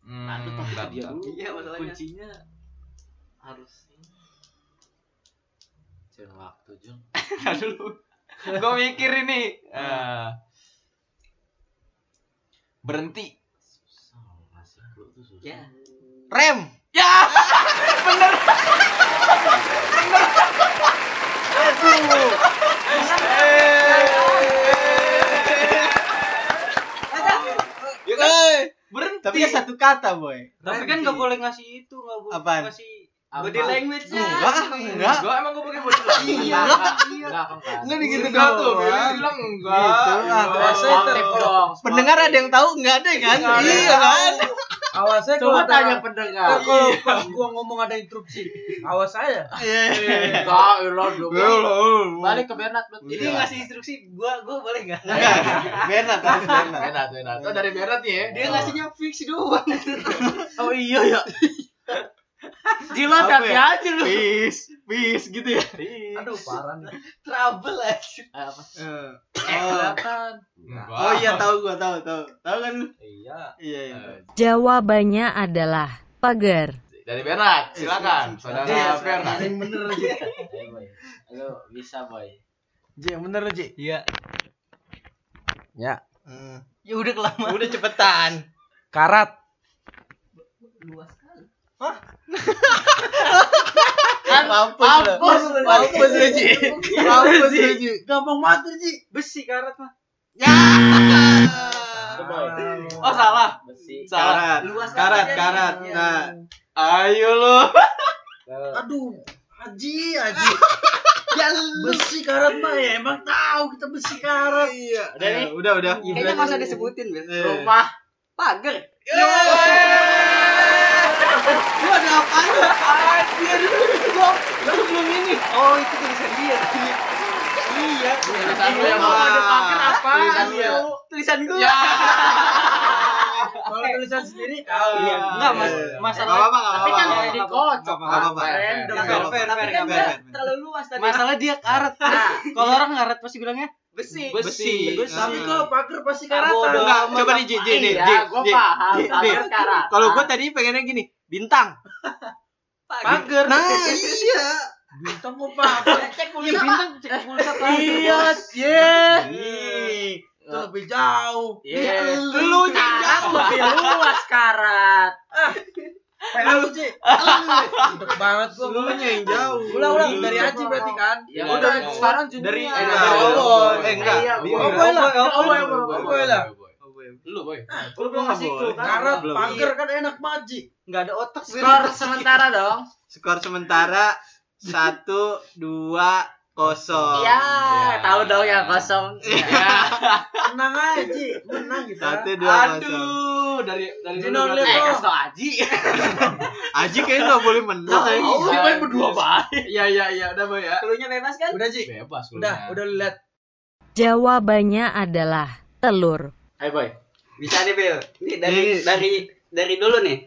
[SPEAKER 1] Hmm,
[SPEAKER 4] Aduh, tuh,
[SPEAKER 1] bentar,
[SPEAKER 4] dia
[SPEAKER 1] bentar.
[SPEAKER 4] dulu.
[SPEAKER 2] Iya, masalahnya.
[SPEAKER 4] Kuncinya harus ini. Cek waktu, *laughs* Jun.
[SPEAKER 1] Aduh, gue mikir ini. Eh, berhenti.
[SPEAKER 4] Susah ngasih clue tuh susah.
[SPEAKER 2] Rem.
[SPEAKER 1] Ya,
[SPEAKER 2] Aduh. Eh. Tapi kan satu kata, boy.
[SPEAKER 5] Tapi kan gak boleh ngasih itu, gak boleh
[SPEAKER 2] Apaan?
[SPEAKER 5] ngasih
[SPEAKER 2] Body language
[SPEAKER 3] Iya.
[SPEAKER 4] enggak
[SPEAKER 2] Enggak, enggak.
[SPEAKER 4] Oh,
[SPEAKER 1] Enggak, emang gue pakai body language.
[SPEAKER 4] iya enggak enggak kan
[SPEAKER 2] Enggak nih gitu
[SPEAKER 1] Enggak
[SPEAKER 2] doang.
[SPEAKER 1] tuh, Billy bilang enggak.
[SPEAKER 2] Gitu lah,
[SPEAKER 1] Enggak.
[SPEAKER 4] *laughs*
[SPEAKER 3] terasa itu.
[SPEAKER 4] sportif dong sportif.
[SPEAKER 2] Pendengar ada yang tahu enggak ada kan?
[SPEAKER 1] Enggak ada.
[SPEAKER 2] Iya kan?
[SPEAKER 3] Awas saya
[SPEAKER 4] coba
[SPEAKER 3] kalau
[SPEAKER 4] tanya Iya.
[SPEAKER 3] tanya
[SPEAKER 4] pendengar
[SPEAKER 3] kalau pas gua ngomong ada interupsi. Awas saya.
[SPEAKER 2] Iya.
[SPEAKER 4] enggak ilah dong
[SPEAKER 2] Balik.
[SPEAKER 4] balik ke Bernard berarti
[SPEAKER 5] Jadi ngasih instruksi gua gua boleh nggak?
[SPEAKER 4] *laughs*
[SPEAKER 2] Enggak. Bernard harus Bernard.
[SPEAKER 4] Bernard Bernard oh dari Bernard nih ya
[SPEAKER 5] Dia ngasihnya fix *laughs* doang.
[SPEAKER 4] oh iya
[SPEAKER 5] *laughs*
[SPEAKER 4] ya jilat
[SPEAKER 2] Apa
[SPEAKER 4] hati
[SPEAKER 2] ya?
[SPEAKER 4] aja lu
[SPEAKER 5] Iya.
[SPEAKER 4] Eh,
[SPEAKER 2] Peace, peace gitu ya.
[SPEAKER 3] Aduh parah nih.
[SPEAKER 5] Trouble aja.
[SPEAKER 4] Eh, apa?
[SPEAKER 2] Eh,
[SPEAKER 4] eh kelihatan
[SPEAKER 2] Oh iya tahu gua tahu tahu. Tahu kan? lu?
[SPEAKER 4] iya
[SPEAKER 2] Iya iya.
[SPEAKER 6] Jawabannya adalah pagar.
[SPEAKER 4] dari Bernard silakan saudara
[SPEAKER 3] Iya,
[SPEAKER 4] Bernard
[SPEAKER 3] Yang bener Ji.
[SPEAKER 4] Eh, boy. lu bisa boy
[SPEAKER 3] Ji, yang bener Ji.
[SPEAKER 5] Iya.
[SPEAKER 3] Ya.
[SPEAKER 2] Hmm.
[SPEAKER 5] Ya udah kelamaan.
[SPEAKER 2] Udah cepetan.
[SPEAKER 3] Karat.
[SPEAKER 2] Mampus lu.
[SPEAKER 4] mampus
[SPEAKER 2] Mampus lu, Ji. Mampus lu, Ji.
[SPEAKER 3] Gampang mati Ji.
[SPEAKER 5] Besi karat mah.
[SPEAKER 2] Ya.
[SPEAKER 1] Oh salah.
[SPEAKER 4] besi
[SPEAKER 1] Salah.
[SPEAKER 2] Karat.
[SPEAKER 5] Luas
[SPEAKER 2] Karat,
[SPEAKER 5] aja.
[SPEAKER 2] karat.
[SPEAKER 5] Iya.
[SPEAKER 2] Nah,
[SPEAKER 1] Ayo lu.
[SPEAKER 3] Aduh, Haji, Haji. ya besi karat mah ya emang tahu kita besi karat. Iya.
[SPEAKER 4] Udah nih?
[SPEAKER 2] Eh, udah udah. Eh.
[SPEAKER 5] Kayaknya nggak usah disebutin, Bel. Rumah pagar.
[SPEAKER 2] eh.
[SPEAKER 5] Gua ada apa? Anjir. Gua gua belum ini. Oh, itu tulisan dia. Iya.
[SPEAKER 4] Tulisan lu
[SPEAKER 5] Iya,
[SPEAKER 4] yang
[SPEAKER 5] mau
[SPEAKER 4] mana?
[SPEAKER 5] ada pagar apa?
[SPEAKER 4] Tulisan lu ya?
[SPEAKER 5] Tulisan gua.
[SPEAKER 4] Ya.
[SPEAKER 3] Kalau tulisan sendiri
[SPEAKER 5] Iya, enggak mas,
[SPEAKER 2] Iya, iya.
[SPEAKER 5] masalah.
[SPEAKER 2] Nggak apa-apa, nggak
[SPEAKER 5] tapi kan
[SPEAKER 2] apa-apa.
[SPEAKER 5] jadi
[SPEAKER 4] Nggak
[SPEAKER 5] kocok.
[SPEAKER 2] Nggak apa-apa.
[SPEAKER 5] Random.
[SPEAKER 2] Nggak apa-apa.
[SPEAKER 5] Fair,
[SPEAKER 4] kan
[SPEAKER 5] fair,
[SPEAKER 2] Nggak
[SPEAKER 5] fair,
[SPEAKER 2] apa-apa.
[SPEAKER 5] Terlalu luas tadi.
[SPEAKER 4] Masalah
[SPEAKER 5] dia karet. Kalau orang ngaret pasti bilangnya
[SPEAKER 4] besi
[SPEAKER 2] Besi.
[SPEAKER 5] Besi.
[SPEAKER 3] tapi kok pagar pasti
[SPEAKER 5] Bodoh.
[SPEAKER 3] karatan.
[SPEAKER 2] Enggak, coba nih Ji, Ji, nih, Ji,
[SPEAKER 4] Iya, gue
[SPEAKER 2] Ji.
[SPEAKER 4] paham.
[SPEAKER 2] Ji, Ji.
[SPEAKER 4] Tangan karat.
[SPEAKER 2] Kalau gua tadi pengennya gini, bintang.
[SPEAKER 5] pagar.
[SPEAKER 2] Nah, iya.
[SPEAKER 3] Bintang kok
[SPEAKER 5] *laughs*
[SPEAKER 3] pagar.
[SPEAKER 5] Cek pulsa bintang, cek pulsa
[SPEAKER 3] Iya, iya.
[SPEAKER 2] Ih,
[SPEAKER 3] Itu lebih jauh.
[SPEAKER 4] Iya.
[SPEAKER 2] Lu
[SPEAKER 4] Karat lebih luas karat.
[SPEAKER 3] Pelu Ji. Enak banget gua.
[SPEAKER 2] Lu nya yang jauh.
[SPEAKER 3] Ulang ulang
[SPEAKER 2] Lu.
[SPEAKER 3] dari Haji berarti kan?
[SPEAKER 4] Ya
[SPEAKER 2] Iya.
[SPEAKER 4] udah
[SPEAKER 2] Iya.
[SPEAKER 4] sekarang junior.
[SPEAKER 2] dari
[SPEAKER 4] Iya.
[SPEAKER 2] eh, dari Oboy. Eh enggak.
[SPEAKER 4] Iya,
[SPEAKER 2] Di-
[SPEAKER 4] Oboy.
[SPEAKER 2] dari
[SPEAKER 3] Oboy lah,
[SPEAKER 2] Oboy,
[SPEAKER 4] iya,
[SPEAKER 3] Oboy,
[SPEAKER 2] Oboy,
[SPEAKER 3] Oboy,
[SPEAKER 2] Oboy.
[SPEAKER 3] Oboy lah.
[SPEAKER 2] Oboy.
[SPEAKER 4] Lu boy.
[SPEAKER 5] Lu belum ngasih clue kan?
[SPEAKER 3] Karat
[SPEAKER 2] Belum.
[SPEAKER 3] pagar kan enak banget Ji.
[SPEAKER 5] Enggak ada otak. Bel.
[SPEAKER 4] Skor sementara dong.
[SPEAKER 2] Skor sementara 1 2 0.
[SPEAKER 4] Iya, tahu dong yang kosong. Iya.
[SPEAKER 3] Menang aja Ji, menang gitu.
[SPEAKER 2] 1 2 0.
[SPEAKER 1] Aduh, dari dari
[SPEAKER 3] Ji
[SPEAKER 1] dulu
[SPEAKER 3] non
[SPEAKER 1] berarti. ya.
[SPEAKER 4] Eh,
[SPEAKER 3] level.
[SPEAKER 4] kasih tau Aji.
[SPEAKER 2] Aji kayaknya enggak boleh menang.
[SPEAKER 4] Oh,
[SPEAKER 2] Aji.
[SPEAKER 4] dia main berdua banget.
[SPEAKER 1] *laughs* Iya iya iya, udah boy ya.
[SPEAKER 5] Cluenya bebas kan?
[SPEAKER 3] Udah Ji.
[SPEAKER 4] Bebas
[SPEAKER 3] Udah, udah lu lihat.
[SPEAKER 6] Jawabannya adalah telur.
[SPEAKER 4] Eh, boy.
[SPEAKER 7] Bisa nih, Bil. Ini dari
[SPEAKER 2] Ini-
[SPEAKER 7] dari dari dulu nih.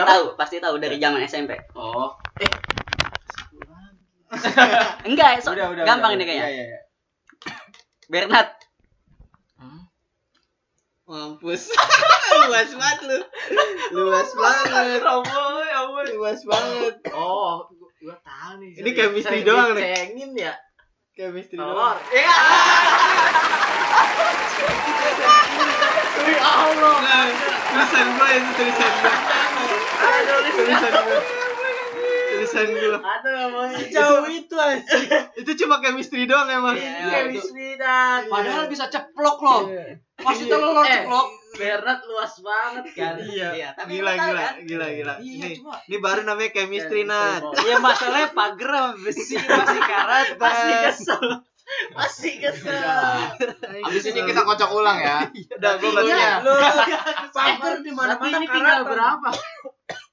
[SPEAKER 7] pasti
[SPEAKER 4] apa?
[SPEAKER 7] tahu, pasti tahu dari zaman SMP.
[SPEAKER 4] Oh.
[SPEAKER 7] *laughs* Enggak, so,
[SPEAKER 2] Udah, udah.
[SPEAKER 7] gampang
[SPEAKER 2] udah.
[SPEAKER 7] nih kayaknya.
[SPEAKER 2] Iya, iya, iya.
[SPEAKER 7] Bernard.
[SPEAKER 2] Mampus.
[SPEAKER 4] *laughs*
[SPEAKER 2] Luas banget lu. Luas banget.
[SPEAKER 1] Oboy, Oboy.
[SPEAKER 2] Luas banget.
[SPEAKER 4] ya Oh, gua, gua tahu nih.
[SPEAKER 2] Ini kayak misteri doang nih.
[SPEAKER 4] Cengin ya.
[SPEAKER 2] Chemistry
[SPEAKER 4] Telur.
[SPEAKER 2] doang.
[SPEAKER 4] Iya. Demi Allah.
[SPEAKER 2] Nah, Tulisan gua itu tulisan gua. Tulisan gua. Tulisan gua.
[SPEAKER 4] Aduh, boy.
[SPEAKER 3] Jauh itu Iya. aja.
[SPEAKER 2] Itu cuma chemistry doang emang. Iya,
[SPEAKER 4] Iya, itu-
[SPEAKER 3] dan
[SPEAKER 5] Padahal bisa ceplok loh.
[SPEAKER 3] Iya.
[SPEAKER 5] Masih telur
[SPEAKER 4] Eh,
[SPEAKER 5] ceplok.
[SPEAKER 4] Bernard luas banget kan.
[SPEAKER 2] Iya.
[SPEAKER 5] Iya, tapi lu
[SPEAKER 2] Gila,
[SPEAKER 5] tahu
[SPEAKER 2] gila,
[SPEAKER 5] kan?
[SPEAKER 2] gila, gila.
[SPEAKER 5] Iya,
[SPEAKER 2] Ini
[SPEAKER 5] cuma
[SPEAKER 2] ini baru namanya chemistry nat.
[SPEAKER 5] Ya
[SPEAKER 4] Iya,
[SPEAKER 5] masalahnya pagar sama besi masih karat.
[SPEAKER 4] Masih kesel. Masih
[SPEAKER 2] Iya.
[SPEAKER 4] kesel.
[SPEAKER 2] Abis ini
[SPEAKER 4] kita kocok ulang ya.
[SPEAKER 2] udah gua baru
[SPEAKER 4] Iya.
[SPEAKER 2] ya.
[SPEAKER 3] Lu pagar
[SPEAKER 4] Tapi
[SPEAKER 3] di mana-mana
[SPEAKER 4] ini tinggal
[SPEAKER 3] karatan.
[SPEAKER 4] berapa?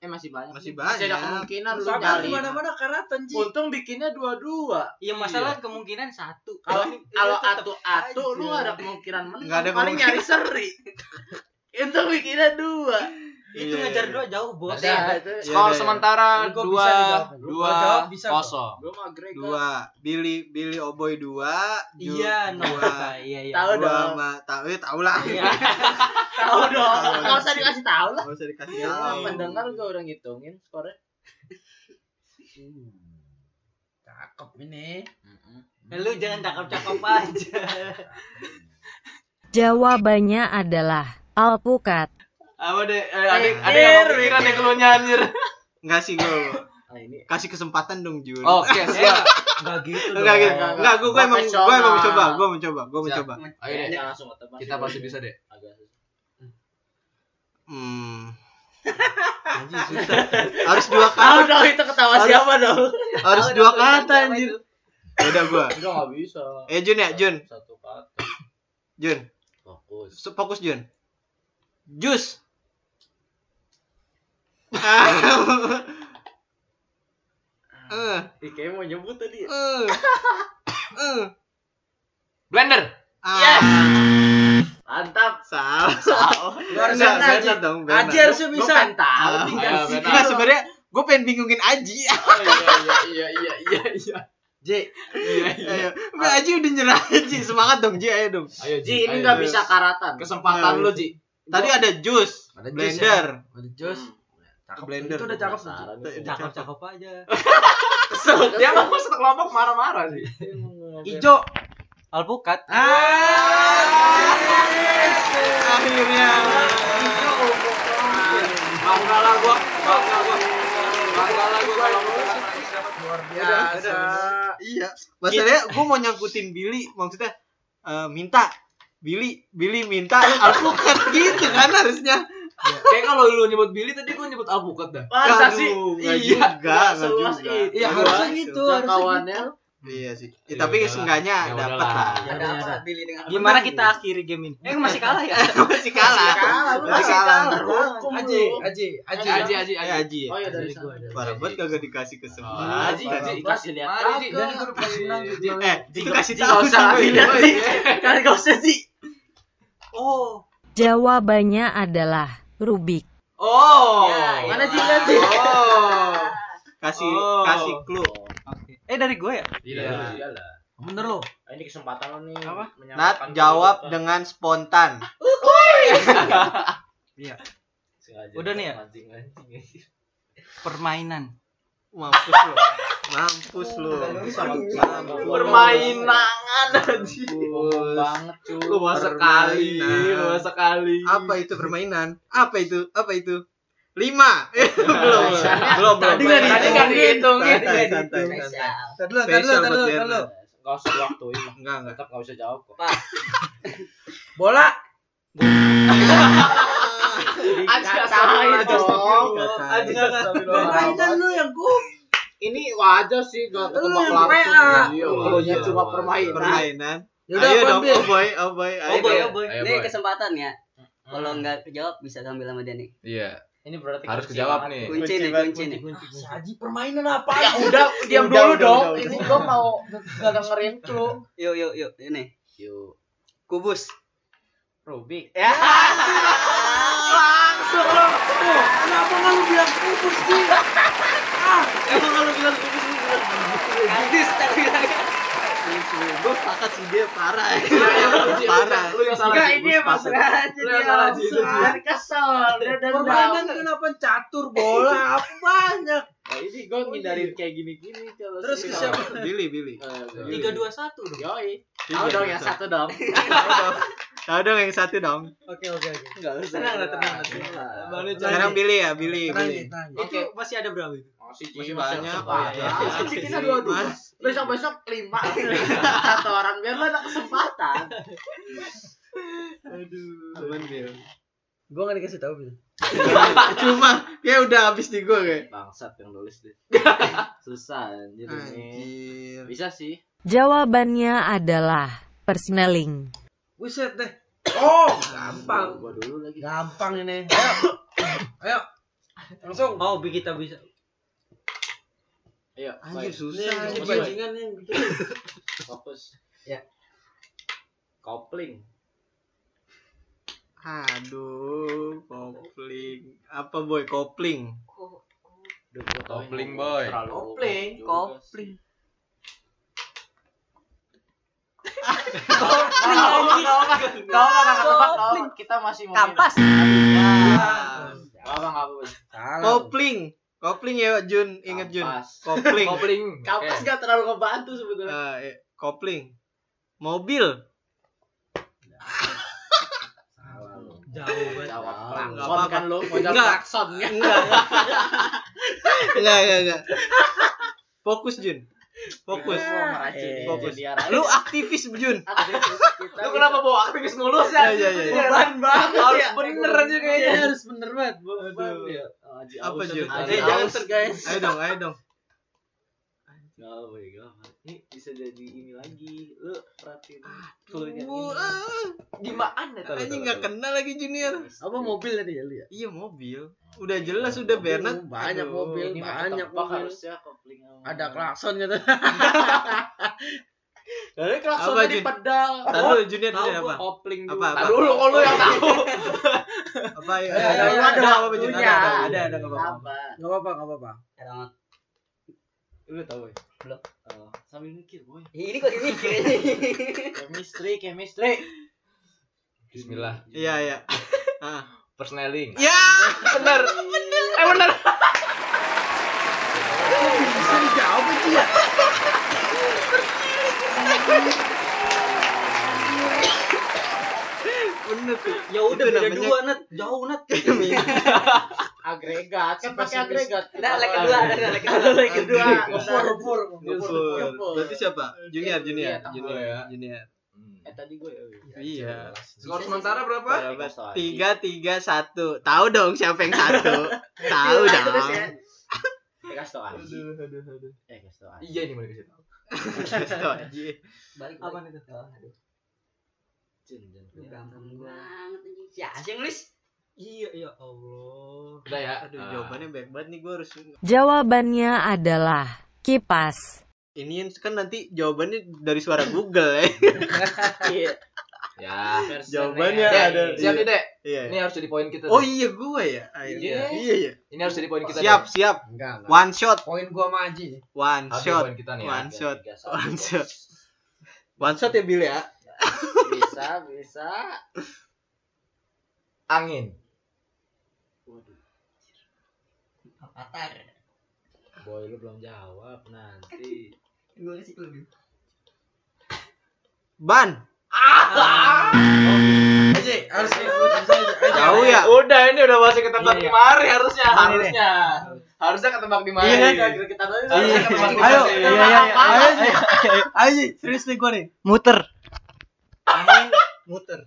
[SPEAKER 4] Eh masih banyak.
[SPEAKER 2] Masih
[SPEAKER 4] ada
[SPEAKER 2] banyak.
[SPEAKER 4] kemungkinan lu
[SPEAKER 3] Pagar
[SPEAKER 4] nyari.
[SPEAKER 3] di mana-mana karatan Ji.
[SPEAKER 4] Untung bikinnya dua-dua.
[SPEAKER 5] Iya, masalah kemungkinan satu.
[SPEAKER 3] *laughs*
[SPEAKER 4] Kalau kalau
[SPEAKER 5] tetep
[SPEAKER 4] atu-atu
[SPEAKER 5] aja.
[SPEAKER 4] lu nggak ada kemungkinan menang.
[SPEAKER 2] Nggak ada
[SPEAKER 4] Paling
[SPEAKER 2] kemungkinan.
[SPEAKER 4] nyari seri. *laughs* Untung bikinnya dua.
[SPEAKER 5] itu
[SPEAKER 2] Iya,
[SPEAKER 5] ngejar
[SPEAKER 2] iya.
[SPEAKER 5] dua jauh, Bos.
[SPEAKER 4] Udah, itu.
[SPEAKER 1] Iya,
[SPEAKER 2] Skor
[SPEAKER 1] sementara
[SPEAKER 5] Gua bisa nih jawab.
[SPEAKER 3] Gua jawab bisa. kok.
[SPEAKER 4] Gua mah Greg.
[SPEAKER 2] Dua. Billy Billy Oboy dua. Ju-
[SPEAKER 5] Iya, no.
[SPEAKER 2] Dua.
[SPEAKER 5] Iya, iya.
[SPEAKER 2] Dua
[SPEAKER 4] Tahu dong.
[SPEAKER 2] sama tahu eh, tahu lah.
[SPEAKER 5] Iya.
[SPEAKER 2] *laughs*
[SPEAKER 4] Tahu dong.
[SPEAKER 2] Tahu.
[SPEAKER 4] Enggak usah dikasih tahu lah.
[SPEAKER 2] Gak usah dikasih
[SPEAKER 4] Ya,
[SPEAKER 2] tahu.
[SPEAKER 4] pendengar gua udah ngitungin skornya.
[SPEAKER 3] Cakep ini.
[SPEAKER 5] Lu jangan
[SPEAKER 4] *laughs*
[SPEAKER 5] cakep-cakep aja.
[SPEAKER 6] Jawabannya adalah alpukat.
[SPEAKER 1] Apa deh? Eh, ada ada yang kepikiran deh keluarnya anjir.
[SPEAKER 2] Enggak sih gua.
[SPEAKER 4] Nah, ini
[SPEAKER 2] Kasih kesempatan dong Jun.
[SPEAKER 5] Oh,
[SPEAKER 1] Oke, siap.
[SPEAKER 3] Enggak gitu
[SPEAKER 2] Enggak gitu.
[SPEAKER 4] enggak.
[SPEAKER 2] Enggak, gua gua emang gua emang mencoba, gua mencoba, gua
[SPEAKER 1] Siap.
[SPEAKER 2] mencoba.
[SPEAKER 1] Ayo deh.
[SPEAKER 4] Jangan langsung ketebak.
[SPEAKER 1] Kita pasti bisa deh.
[SPEAKER 4] Agak susah.
[SPEAKER 2] Hmm. Anjing, susah. Harus dua kata.
[SPEAKER 7] dong itu ketawa
[SPEAKER 2] Harus-
[SPEAKER 7] siapa dong?
[SPEAKER 2] Harus
[SPEAKER 7] Tahu
[SPEAKER 2] dua
[SPEAKER 7] dong,
[SPEAKER 2] kata
[SPEAKER 7] siapa
[SPEAKER 2] anjir.
[SPEAKER 7] itu?
[SPEAKER 2] Ya udah
[SPEAKER 4] *laughs*
[SPEAKER 2] gua.
[SPEAKER 4] Enggak enggak bisa.
[SPEAKER 2] Eh Jun ya, Jun.
[SPEAKER 4] Satu kata.
[SPEAKER 2] Jun.
[SPEAKER 4] Fokus.
[SPEAKER 2] So- Fokus Jun. Jus. Ah. Eh,
[SPEAKER 3] gitu.
[SPEAKER 4] Ih, kayaknya mau nyebut tadi.
[SPEAKER 2] eh, eh.
[SPEAKER 1] Blender.
[SPEAKER 2] Ah,
[SPEAKER 4] Mantap.
[SPEAKER 2] salah. Salah. Salah,
[SPEAKER 3] sana,
[SPEAKER 2] Bernard dong, Bernard.
[SPEAKER 3] Aji harusnya bisa.
[SPEAKER 4] Bukan tahu
[SPEAKER 2] Ah,
[SPEAKER 4] tinggal
[SPEAKER 1] ayo,
[SPEAKER 4] sini.
[SPEAKER 1] benar.
[SPEAKER 2] Nah, sebenarnya gue pengen bingungin Aji.
[SPEAKER 1] Oh,
[SPEAKER 4] Iya iya iya iya.
[SPEAKER 2] J. Ayo. Udah, Aji udah nyerah Aji. Semangat dong J, ayo dong.
[SPEAKER 4] Ayo Ji, ini enggak
[SPEAKER 2] Ayo.
[SPEAKER 4] bisa karatan.
[SPEAKER 2] Ayo.
[SPEAKER 4] Kesempatan lu Ji. ya?
[SPEAKER 2] Tadi ada jus,
[SPEAKER 5] Ada jus,
[SPEAKER 2] blender.
[SPEAKER 5] Jos.
[SPEAKER 3] Hmm.
[SPEAKER 2] Ke blender.
[SPEAKER 5] Itu udah cakep sih.
[SPEAKER 4] Penasaran.
[SPEAKER 5] Cakep-cakep aja.
[SPEAKER 1] Dia ngomong satu kelompok marah-marah sih.
[SPEAKER 5] Ijo. Alpukat.
[SPEAKER 2] Akhirnya.
[SPEAKER 1] Bangga lah gua, bangga gua. Bangga lah gua kalau mau menang.
[SPEAKER 3] Biasa.
[SPEAKER 2] Iya. Masalahnya gue mau nyangkutin Billy, maksudnya eh, minta Billy, Billy minta alpukat *laughs* gitu kan harusnya.
[SPEAKER 1] Kayak kalau lu nyebut Billy tadi gua nyebut alpukat dah.
[SPEAKER 4] Masa sih?
[SPEAKER 2] Aduh, nggak
[SPEAKER 1] Iya,
[SPEAKER 2] juga,
[SPEAKER 4] nggak
[SPEAKER 2] nggak
[SPEAKER 4] seluas
[SPEAKER 2] juga.
[SPEAKER 4] itu.
[SPEAKER 2] Iya,
[SPEAKER 4] Nggak
[SPEAKER 2] harusnya
[SPEAKER 3] Harusnya
[SPEAKER 2] gitu.
[SPEAKER 3] gitu, harusnya
[SPEAKER 4] Jangkauannya.
[SPEAKER 3] gitu.
[SPEAKER 2] Iya sih. Ya,
[SPEAKER 1] Ya
[SPEAKER 2] tapi
[SPEAKER 1] udahlah.
[SPEAKER 2] seenggaknya
[SPEAKER 1] Ya
[SPEAKER 2] dapat
[SPEAKER 1] udahlah.
[SPEAKER 2] lah.
[SPEAKER 7] Ada
[SPEAKER 5] Iya.
[SPEAKER 7] apa Billy dengan
[SPEAKER 5] Gimana kita akhiri game ini?
[SPEAKER 7] Eh masih kalah ya?
[SPEAKER 2] *laughs* Masih kalah. Masih
[SPEAKER 3] Masih
[SPEAKER 2] kalah.
[SPEAKER 3] Terhukum
[SPEAKER 4] Aji,
[SPEAKER 3] lu.
[SPEAKER 4] Aji, Aji.
[SPEAKER 1] Aji, aji,
[SPEAKER 2] Ya,
[SPEAKER 1] iya. Eh, aji.
[SPEAKER 2] Aji. ya.
[SPEAKER 4] Oh iya dari
[SPEAKER 5] Dari
[SPEAKER 4] gua.
[SPEAKER 5] gua, dari
[SPEAKER 2] Parah banget kagak dikasih
[SPEAKER 1] Ah,
[SPEAKER 2] kesempatan.
[SPEAKER 1] Aji, Aji.
[SPEAKER 4] Kasih lihat.
[SPEAKER 1] Mari, Ji.
[SPEAKER 3] Kagak.
[SPEAKER 1] Jadi gua udah pernah menang, Ji.
[SPEAKER 2] Eh, itu kasih
[SPEAKER 4] Ji, *laughs* nggak
[SPEAKER 2] tahu
[SPEAKER 4] usah.
[SPEAKER 2] sih.
[SPEAKER 4] Iya,
[SPEAKER 2] Boy.
[SPEAKER 4] Ji.
[SPEAKER 7] Kalian gak usah sih.
[SPEAKER 5] Oh.
[SPEAKER 6] Jawabannya adalah Rubik.
[SPEAKER 1] Oh.
[SPEAKER 7] Ya,
[SPEAKER 3] Mana Ji, lihat, Ji.
[SPEAKER 1] Oh.
[SPEAKER 2] Kasih
[SPEAKER 1] Oh.
[SPEAKER 2] kasih clue.
[SPEAKER 5] Oke. Eh dari gue ya?
[SPEAKER 1] Iya.
[SPEAKER 4] Iya lah.
[SPEAKER 5] Bener lo.
[SPEAKER 4] Ah, Ini kesempatan lo nih.
[SPEAKER 5] Apa?
[SPEAKER 4] menyamakan
[SPEAKER 2] Nat
[SPEAKER 4] kedudukan.
[SPEAKER 2] jawab dengan spontan.
[SPEAKER 4] Sengaja
[SPEAKER 5] Udah nih ya?
[SPEAKER 4] mancing-mancing.
[SPEAKER 5] Permainan.
[SPEAKER 2] Mampus lu. Mampus lu.
[SPEAKER 1] Permainan aji.
[SPEAKER 4] Sombong banget cuy.
[SPEAKER 1] Luas sekali,
[SPEAKER 2] Permainan.
[SPEAKER 1] luas sekali.
[SPEAKER 2] Apa itu permainan? Apa itu? Apa itu? Lima. Eh, belum.
[SPEAKER 4] Iya.
[SPEAKER 2] Belum, belum.
[SPEAKER 5] Tadi nggak
[SPEAKER 2] Tadi
[SPEAKER 5] dihitungin.
[SPEAKER 2] dihitungin.
[SPEAKER 5] Tadi nggak
[SPEAKER 2] Santai, santai, santai.
[SPEAKER 3] Tadi dulu,
[SPEAKER 2] Spesial
[SPEAKER 3] tadi dulu, tadi
[SPEAKER 2] buat
[SPEAKER 3] dulu, tadi dulu.
[SPEAKER 2] Bernard.
[SPEAKER 4] Enggak usah waktuin.
[SPEAKER 2] Enggak, enggak.
[SPEAKER 4] Tetap enggak bisa jawab kok.
[SPEAKER 3] Bola.
[SPEAKER 1] Aji nggak salah itu. Aji nggak salah.
[SPEAKER 3] Permainan lu yang gue.
[SPEAKER 4] Ini wajar sih gak
[SPEAKER 3] Lu
[SPEAKER 4] ketebak
[SPEAKER 3] yang PA.
[SPEAKER 4] langsung. Iya,
[SPEAKER 1] Iya,
[SPEAKER 4] Cluenya
[SPEAKER 1] iya,
[SPEAKER 4] cuma
[SPEAKER 1] wajar.
[SPEAKER 4] permainan.
[SPEAKER 2] Permainan.
[SPEAKER 3] Yaudah,
[SPEAKER 2] Ayo
[SPEAKER 3] gua
[SPEAKER 2] dong,
[SPEAKER 3] ambil.
[SPEAKER 2] oh boy, oh boy. Ayo
[SPEAKER 5] Oh boy,
[SPEAKER 2] dong.
[SPEAKER 5] oh boy.
[SPEAKER 7] Ini kesempatan ya. Kalau nggak kejawab bisa sambil sama Dani.
[SPEAKER 1] Iya,
[SPEAKER 4] Ini berarti
[SPEAKER 1] harus
[SPEAKER 4] kunci
[SPEAKER 1] kejawab
[SPEAKER 4] banget.
[SPEAKER 1] nih.
[SPEAKER 4] *laughs*
[SPEAKER 7] Kunci nih, kunci nih.
[SPEAKER 3] Si Aji permainan apa?
[SPEAKER 4] Ya udah, diam
[SPEAKER 2] Udah,
[SPEAKER 4] dulu
[SPEAKER 2] udah,
[SPEAKER 4] dong.
[SPEAKER 2] udah,
[SPEAKER 4] Ini
[SPEAKER 2] udah.
[SPEAKER 4] gua mau nggak dengerin lu.
[SPEAKER 7] Yuk, yuk, yuk. Ini.
[SPEAKER 4] Yuk.
[SPEAKER 7] Kubus.
[SPEAKER 4] Rubik.
[SPEAKER 7] Ya.
[SPEAKER 3] Langsung lo. Tuh, Kenapa nggak lu bilang kubus sih?
[SPEAKER 2] Emang kalau bilang kubus lu bilang
[SPEAKER 7] Kadis tadi bilangnya.
[SPEAKER 2] Gue sepakat sih dia parah.
[SPEAKER 1] Aji, lu-
[SPEAKER 2] Parah.
[SPEAKER 1] Lu yang salah. Ji.
[SPEAKER 2] ini emang
[SPEAKER 1] Lu yang salah Ji, itu, Ji.
[SPEAKER 3] Dari kesel. Dia dari permainan kenapa catur bola apa banyak.
[SPEAKER 4] Nah, ini gua ngindarin kayak gini-gini kalau
[SPEAKER 3] Terus ke
[SPEAKER 4] sering.
[SPEAKER 3] siapa?
[SPEAKER 2] Billy, Billy.
[SPEAKER 4] Eh,
[SPEAKER 1] Iya.
[SPEAKER 5] Tiga dua satu dong.
[SPEAKER 4] Yoi. Tahu dong yang satu dong.
[SPEAKER 2] Tahu dong yang satu dong.
[SPEAKER 5] Oke oke oke.
[SPEAKER 4] Enggak usah.
[SPEAKER 5] Tenang lah, tenang lah.
[SPEAKER 4] Balik.
[SPEAKER 2] Sekarang Billy ya, Billy,
[SPEAKER 3] Tenang
[SPEAKER 2] Billy. *laughs*
[SPEAKER 3] Ji, tenang Ji.
[SPEAKER 5] Itu masih ada berapa itu?
[SPEAKER 4] Masih
[SPEAKER 2] Masih
[SPEAKER 4] masih
[SPEAKER 2] banyak,
[SPEAKER 4] cepat.
[SPEAKER 2] Pak.
[SPEAKER 4] Ya, Masih kita
[SPEAKER 2] Masih.
[SPEAKER 4] dua dua.
[SPEAKER 2] Mas.
[SPEAKER 4] Besok besok lima. Satu orang biar lu ada kesempatan.
[SPEAKER 2] Cuman Bill.
[SPEAKER 3] Gue nggak dikasih tahu Bil.
[SPEAKER 2] Cuma dia udah habis di gue kayak.
[SPEAKER 4] Bangsat yang nulis deh. Susah anjir ini.
[SPEAKER 2] Anjir.
[SPEAKER 4] Bisa sih.
[SPEAKER 6] Jawabannya adalah Persneling.
[SPEAKER 3] Buset deh. Oh,
[SPEAKER 4] Bang,
[SPEAKER 3] gampang.
[SPEAKER 4] gua dulu lagi.
[SPEAKER 3] Gampang ini. Ayo. Ayo. Langsung.
[SPEAKER 5] Oh, bi- kita bisa.
[SPEAKER 4] Ayo,
[SPEAKER 2] Anjir
[SPEAKER 4] baik.
[SPEAKER 2] susah.
[SPEAKER 3] Ini
[SPEAKER 2] anjir.
[SPEAKER 3] bajingan yang gitu.
[SPEAKER 4] fokus.
[SPEAKER 3] Ya.
[SPEAKER 4] Kopling.
[SPEAKER 2] Aduh, kopling. Apa boy kopling?
[SPEAKER 4] Duh, gua tau
[SPEAKER 1] Kopling,
[SPEAKER 4] ini
[SPEAKER 1] boy.
[SPEAKER 4] terlalu
[SPEAKER 5] Kopling,
[SPEAKER 4] juga sih.
[SPEAKER 5] kopling.
[SPEAKER 4] Gak apa gak ketebak, gak apa. Kita masih mau
[SPEAKER 5] Kampas.
[SPEAKER 2] Ah.
[SPEAKER 4] Gak apa gak apa.
[SPEAKER 2] Kopling. Kopling ya Jun, inget Jun.
[SPEAKER 4] Kampas.
[SPEAKER 2] *laughs* Kopling.
[SPEAKER 1] Kopling.
[SPEAKER 4] Kampas
[SPEAKER 1] Oke.
[SPEAKER 4] gak terlalu ngebantu sebetulnya.
[SPEAKER 2] Ah, eh, kopling. Mobil.
[SPEAKER 4] Salah lu.
[SPEAKER 5] Jauh banget.
[SPEAKER 4] Jawab
[SPEAKER 2] Nggak
[SPEAKER 4] klakson
[SPEAKER 2] apa-apa.
[SPEAKER 4] kan lu. Mau jawab
[SPEAKER 2] Nggak.
[SPEAKER 4] klakson kan.
[SPEAKER 2] Enggak. Enggak, enggak, enggak. Fokus Jun. Fokus.
[SPEAKER 4] Lu mau
[SPEAKER 2] Eh,
[SPEAKER 4] meracuni,
[SPEAKER 2] fokus.
[SPEAKER 4] jadi arah-
[SPEAKER 2] Lu aktivis Jun.
[SPEAKER 4] Aktivis kita
[SPEAKER 1] Lu kenapa bawa aktivis mulu sih?
[SPEAKER 2] Iya, iya, iya.
[SPEAKER 1] Beban banget. Harus bener aja
[SPEAKER 3] kayaknya harus bener banget. Aduh.
[SPEAKER 2] Apa Jun?
[SPEAKER 3] Aji
[SPEAKER 2] Eh, jangan
[SPEAKER 3] aus. guys.
[SPEAKER 2] Ayo dong, ayo dong.
[SPEAKER 1] Gak apa ya, gak apa. Ini bisa jadi ini lagi. Lu perhatiin clue-nya ini.
[SPEAKER 2] Wuh, ah,
[SPEAKER 1] Gimana tuh?
[SPEAKER 2] Anjing nggak kena lagi junior.
[SPEAKER 3] Apa mobil tadi ya lu ya?
[SPEAKER 2] Iya mobil. Udah jelas udah Bernard.
[SPEAKER 3] Banyak
[SPEAKER 2] Aduh.
[SPEAKER 3] mobil,
[SPEAKER 1] Ini mah
[SPEAKER 3] banyak
[SPEAKER 1] ketebak
[SPEAKER 3] mobil.
[SPEAKER 1] harusnya kopling sama.
[SPEAKER 3] Ada klakson gitu.
[SPEAKER 1] Dari
[SPEAKER 2] Apa,
[SPEAKER 1] klaksonnya di
[SPEAKER 2] Jun?
[SPEAKER 1] pedal.
[SPEAKER 2] Tar dulu junior dulu apa?
[SPEAKER 4] kopling
[SPEAKER 2] Apa
[SPEAKER 4] dulu.
[SPEAKER 2] apa?
[SPEAKER 1] Tahu dulu kalau lu yang tahu.
[SPEAKER 2] Apa ya?
[SPEAKER 3] Eh,
[SPEAKER 2] Ada
[SPEAKER 3] eh,
[SPEAKER 2] ada
[SPEAKER 3] ada
[SPEAKER 2] apa Jun?
[SPEAKER 3] punya.
[SPEAKER 2] Ada ada ada enggak apa-apa.
[SPEAKER 1] Apa?
[SPEAKER 3] Enggak apa-apa, enggak apa-apa.
[SPEAKER 8] Alamat.
[SPEAKER 1] Lu tahu ya?
[SPEAKER 8] Belum.
[SPEAKER 1] Oh, sambil mikir, boy.
[SPEAKER 8] Ini kok dimikir.
[SPEAKER 4] chemistry chemistry
[SPEAKER 1] Bismillah.
[SPEAKER 2] Iya, iya.
[SPEAKER 1] Persneling.
[SPEAKER 2] Ya, benar.
[SPEAKER 3] Bisa dijawab itu ya?
[SPEAKER 2] Benar tuh.
[SPEAKER 8] Ya udah
[SPEAKER 2] Itu
[SPEAKER 8] beda
[SPEAKER 2] namanya-
[SPEAKER 8] dua nat, jauh nat.
[SPEAKER 4] agregat kan pakai agregat
[SPEAKER 8] Nah, leg kedua, ada nah, leg kedua.
[SPEAKER 4] Leg kedua
[SPEAKER 3] Ngepur, ngepur.
[SPEAKER 2] Ngepur. Berarti siapa? Junior, junior,
[SPEAKER 4] Iya,
[SPEAKER 2] junior,
[SPEAKER 1] iya.
[SPEAKER 2] junior.
[SPEAKER 4] eh tadi gue eh,
[SPEAKER 2] Iya.
[SPEAKER 1] Skor sementara berapa?
[SPEAKER 2] Tiga, tiga, satu. Tahu dong siapa yang *laughs* satu. Tahu
[SPEAKER 8] Iya,
[SPEAKER 2] dong.
[SPEAKER 8] terus ya.
[SPEAKER 4] eh, kasih tau Aji
[SPEAKER 2] aduh, aduh.
[SPEAKER 4] eh kasih tau Aji
[SPEAKER 1] Iya ini mau dikasih tahu.
[SPEAKER 2] Itu aja.
[SPEAKER 8] Balik.
[SPEAKER 1] Apaan
[SPEAKER 8] itu? Oh, aduh.
[SPEAKER 4] Jun, Jun.
[SPEAKER 8] Lu Gampang banget anjing. Si Asyik nulis.
[SPEAKER 2] Iya, ya Allah.
[SPEAKER 1] Udah ya.
[SPEAKER 2] Aduh,
[SPEAKER 1] Ah.
[SPEAKER 2] jawabannya banyak banget nih gue harus
[SPEAKER 6] Jawabannya adalah kipas.
[SPEAKER 2] ini kan nanti jawabannya dari suara Google ya. *laughs*
[SPEAKER 1] Ya.
[SPEAKER 2] jawabannya
[SPEAKER 1] Dek,
[SPEAKER 2] ada.
[SPEAKER 1] siap nih,
[SPEAKER 2] iya,
[SPEAKER 1] Dek.
[SPEAKER 2] iya.
[SPEAKER 1] Ini harus jadi poin kita. Dek.
[SPEAKER 2] Oh iya gue ya.
[SPEAKER 1] Iya.
[SPEAKER 2] Akhirnya. Iya iya.
[SPEAKER 1] Ini harus jadi poin kita.
[SPEAKER 2] Siap
[SPEAKER 1] Dek.
[SPEAKER 2] siap.
[SPEAKER 3] Enggak, enggak.
[SPEAKER 2] One shot.
[SPEAKER 3] Poin gua sama Aji.
[SPEAKER 2] One
[SPEAKER 1] Habis
[SPEAKER 2] shot.
[SPEAKER 1] poin kita nih. ya.
[SPEAKER 2] One shot.
[SPEAKER 4] Tiga, satu.
[SPEAKER 2] One shot. One shot ya Bill ya.
[SPEAKER 4] bisa bisa
[SPEAKER 1] Angin.
[SPEAKER 8] Avatar.
[SPEAKER 4] boy lu belum jawab nanti
[SPEAKER 8] Gue kasih clue dulu.
[SPEAKER 2] Ban.
[SPEAKER 3] Aji, harus
[SPEAKER 1] Oh,
[SPEAKER 2] Tahu ya.
[SPEAKER 1] Eh, Udah ini udah masuk ke tempat
[SPEAKER 3] Iya, iya.
[SPEAKER 1] dimari harusnya,
[SPEAKER 3] Ini,
[SPEAKER 1] harusnya. Harusnya ke tempat dimari.
[SPEAKER 2] Iya, kan?
[SPEAKER 1] kita
[SPEAKER 2] Iya.
[SPEAKER 1] Harusnya ke tempat dimari.
[SPEAKER 2] Ayo.
[SPEAKER 1] Iya,
[SPEAKER 2] Iya
[SPEAKER 1] iya,
[SPEAKER 2] iya.
[SPEAKER 1] iya.
[SPEAKER 2] Ayo Ji. Ayo Ji. Serius nih gue nih. Muter.
[SPEAKER 3] muter.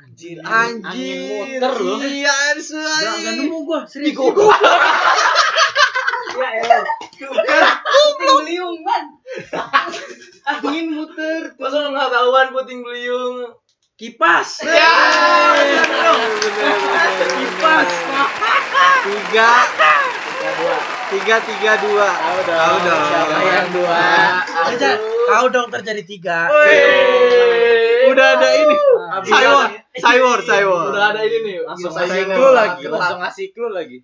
[SPEAKER 3] Anjir.
[SPEAKER 2] Anjir.
[SPEAKER 3] muter loh.
[SPEAKER 2] Iya harus
[SPEAKER 3] Enggak enggak
[SPEAKER 2] aja.
[SPEAKER 3] nemu gua, serius. Gua.
[SPEAKER 8] Kuping liung, man.
[SPEAKER 3] Angin muter.
[SPEAKER 1] Masa lu nggak tahuan puting beliung?
[SPEAKER 3] Kipas.
[SPEAKER 2] Iya,
[SPEAKER 1] Ya.
[SPEAKER 3] Kipas.
[SPEAKER 2] Tiga. Tiga tiga dua. Tahu dong. Tahu dong.
[SPEAKER 1] Siapa yang dua?
[SPEAKER 3] Aja, tahu dong terjadi tiga.
[SPEAKER 1] Wih.
[SPEAKER 2] Udah ada ini.
[SPEAKER 3] Abis-
[SPEAKER 2] Cywar, Cywar, Cywar.
[SPEAKER 1] Udah ada ini nih, langsung
[SPEAKER 2] Gila,
[SPEAKER 1] ngasih
[SPEAKER 2] saya
[SPEAKER 1] clue
[SPEAKER 2] nggak-
[SPEAKER 1] Iya, lagi.
[SPEAKER 2] gelap.
[SPEAKER 1] Langsung ngasih clue lagi.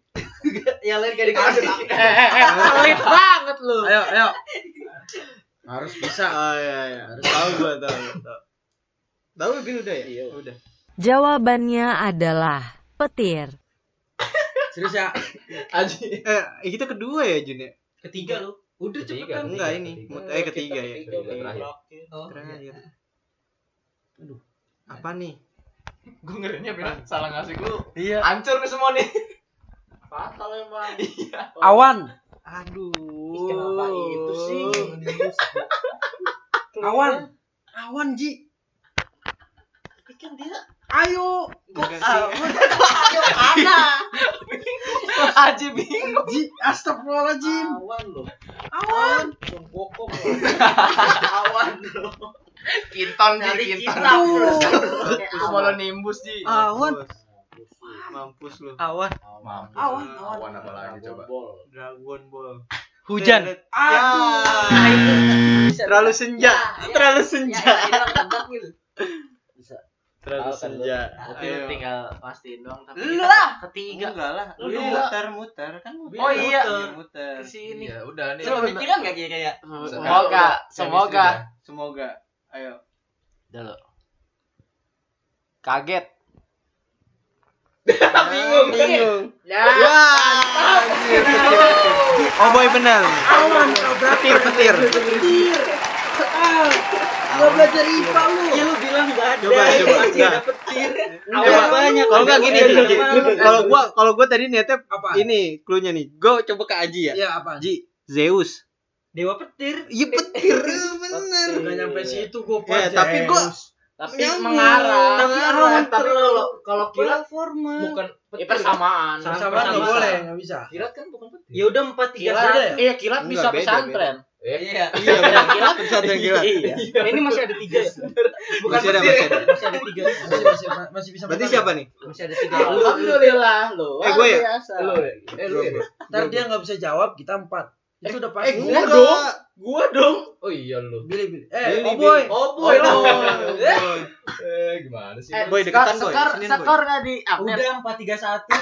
[SPEAKER 4] *laughs*
[SPEAKER 8] Yang lain kayak dikasih.
[SPEAKER 1] Pelit banget lu.
[SPEAKER 3] Ayo, ayo. Harus bisa.
[SPEAKER 2] Oh iya iya. Tahu gua tahu. tahu. Tahu Bill udah ya? Iya. Udah.
[SPEAKER 6] Jawabannya adalah petir.
[SPEAKER 3] Serius ya.
[SPEAKER 1] Aji.
[SPEAKER 2] Eh, kita kedua ya Jun ya?
[SPEAKER 8] Ketiga lu. Udah
[SPEAKER 1] Ketiga.
[SPEAKER 8] cepetan.
[SPEAKER 2] Enggak ini.
[SPEAKER 1] Ketiga.
[SPEAKER 2] Eh ketiga ya.
[SPEAKER 1] Ketiga, terakhir.
[SPEAKER 8] Oh,
[SPEAKER 2] Terakhir.
[SPEAKER 3] Aduh.
[SPEAKER 2] Apa nih?
[SPEAKER 1] Gue ngerinya bilang salah ngasih clue.
[SPEAKER 2] Iya.
[SPEAKER 1] Hancur nih semua nih.
[SPEAKER 4] fatal emang
[SPEAKER 3] Awan.
[SPEAKER 2] Aduh.
[SPEAKER 4] kenapa itu sih?
[SPEAKER 3] Awan. Awan, Ji. Ikan dia. Ayo.
[SPEAKER 1] Aji bingung.
[SPEAKER 3] Ji, astagfirullahaladzim.
[SPEAKER 4] awan lo
[SPEAKER 3] Awan.
[SPEAKER 4] dong kokok lo awan lo
[SPEAKER 1] Kinton
[SPEAKER 8] Dari
[SPEAKER 1] di
[SPEAKER 8] kita.
[SPEAKER 1] kinton. Semua lo nimbus di.
[SPEAKER 2] Awan.
[SPEAKER 4] Buset,
[SPEAKER 2] Mampus lu. Awan.
[SPEAKER 4] awan
[SPEAKER 3] Awan, awan.
[SPEAKER 1] Awan apa lagi coba?
[SPEAKER 4] Bol.
[SPEAKER 2] Dragon Ball. Ya.
[SPEAKER 3] Hujan.
[SPEAKER 2] Aduh. Ah. Nah, Terlalu senja.
[SPEAKER 1] Ya,
[SPEAKER 2] Terlalu
[SPEAKER 4] Ya,
[SPEAKER 2] senja.
[SPEAKER 4] Bisa.
[SPEAKER 2] Terlalu
[SPEAKER 4] Tahu kan lu?
[SPEAKER 2] senja.
[SPEAKER 4] Tapi lu
[SPEAKER 2] Ayo.
[SPEAKER 4] tinggal pastiin doang tapi
[SPEAKER 8] Lu
[SPEAKER 4] kita
[SPEAKER 8] lah.
[SPEAKER 4] ketiga
[SPEAKER 2] Enggak lah.
[SPEAKER 4] Lu
[SPEAKER 2] Lu
[SPEAKER 4] dua.
[SPEAKER 2] muter muter kan muter.
[SPEAKER 1] Oh iya.
[SPEAKER 2] Muter.
[SPEAKER 4] kesini
[SPEAKER 1] Iya, udah nih.
[SPEAKER 8] Lu kepikiran gak kayak kayak?
[SPEAKER 1] Semoga, semoga.
[SPEAKER 2] Semoga. Ayo.
[SPEAKER 4] dulu kaget
[SPEAKER 2] bingung
[SPEAKER 8] Iya.
[SPEAKER 2] bingung ya anjir. oh boy benar
[SPEAKER 3] Awan, kau berarti.
[SPEAKER 2] petir petir
[SPEAKER 3] Petir. Ah, Gak belajar IPA lu.
[SPEAKER 8] Iya lu bilang enggak ada.
[SPEAKER 3] Eh,
[SPEAKER 2] Coba, coba.
[SPEAKER 8] Pasti ada petir. Awan
[SPEAKER 2] Coba.
[SPEAKER 8] banyak.
[SPEAKER 2] kalau nggak gini
[SPEAKER 8] Awan.
[SPEAKER 2] gini. kalau gua kalau gua tadi niatnya
[SPEAKER 3] Apa?
[SPEAKER 2] ini cluenya nih gua coba ke Aji
[SPEAKER 8] Iya.
[SPEAKER 2] ya
[SPEAKER 3] Ya, apa?
[SPEAKER 2] Aji Zeus
[SPEAKER 8] Dewa petir.
[SPEAKER 3] *laughs*
[SPEAKER 2] iya petir bener
[SPEAKER 3] Gak nyampe situ gua
[SPEAKER 2] ya Eh, tapi gua
[SPEAKER 4] tapi
[SPEAKER 5] Nyambung.
[SPEAKER 4] mengarah
[SPEAKER 5] Tapi
[SPEAKER 4] Mengarah,
[SPEAKER 5] arah
[SPEAKER 4] tapi kalau kalau kilat
[SPEAKER 5] Platformer.
[SPEAKER 4] bukan ya, persamaan
[SPEAKER 3] Sama-sama
[SPEAKER 4] Persamaan.
[SPEAKER 3] nggak boleh, nggak bisa.
[SPEAKER 4] kilat kan bukan petir
[SPEAKER 5] Ya udah empat tiga
[SPEAKER 3] Gila
[SPEAKER 5] saja.
[SPEAKER 3] deh.
[SPEAKER 4] iya kilat
[SPEAKER 2] Enggak,
[SPEAKER 4] bisa
[SPEAKER 2] beda,
[SPEAKER 4] pesantren
[SPEAKER 2] Iya, iya benar.
[SPEAKER 4] Kilat.
[SPEAKER 2] Pesantren kilat.
[SPEAKER 4] iya
[SPEAKER 5] Ini masih ada tiga. Bukan
[SPEAKER 2] Masih ada,
[SPEAKER 5] petir.
[SPEAKER 2] masih ada.
[SPEAKER 5] Masih ada tiga.
[SPEAKER 3] Masih, masih, masih bisa.
[SPEAKER 2] Berarti
[SPEAKER 3] bertahan.
[SPEAKER 2] siapa nih?
[SPEAKER 5] Masih ada tiga.
[SPEAKER 4] Ah, alhamdulillah lo
[SPEAKER 2] Eh, gue ya?
[SPEAKER 4] lu
[SPEAKER 5] Eh, lu ya?
[SPEAKER 3] Ntar dia nggak bisa jawab, kita empat. Itu udah pasti.
[SPEAKER 5] eh, gua
[SPEAKER 2] Enggak.
[SPEAKER 5] dong. Gua dong.
[SPEAKER 4] oh iya lu
[SPEAKER 3] Bilih, bilih. Eh,
[SPEAKER 2] Bilih,
[SPEAKER 3] oh boy.
[SPEAKER 2] bilih.
[SPEAKER 5] Oh boy lah. Eh,
[SPEAKER 4] eh gimana sih
[SPEAKER 2] Boy, deketan, Boy.
[SPEAKER 4] skor
[SPEAKER 2] Senin, Boy.
[SPEAKER 4] skor tadi Abner
[SPEAKER 5] Udah empat tiga satu.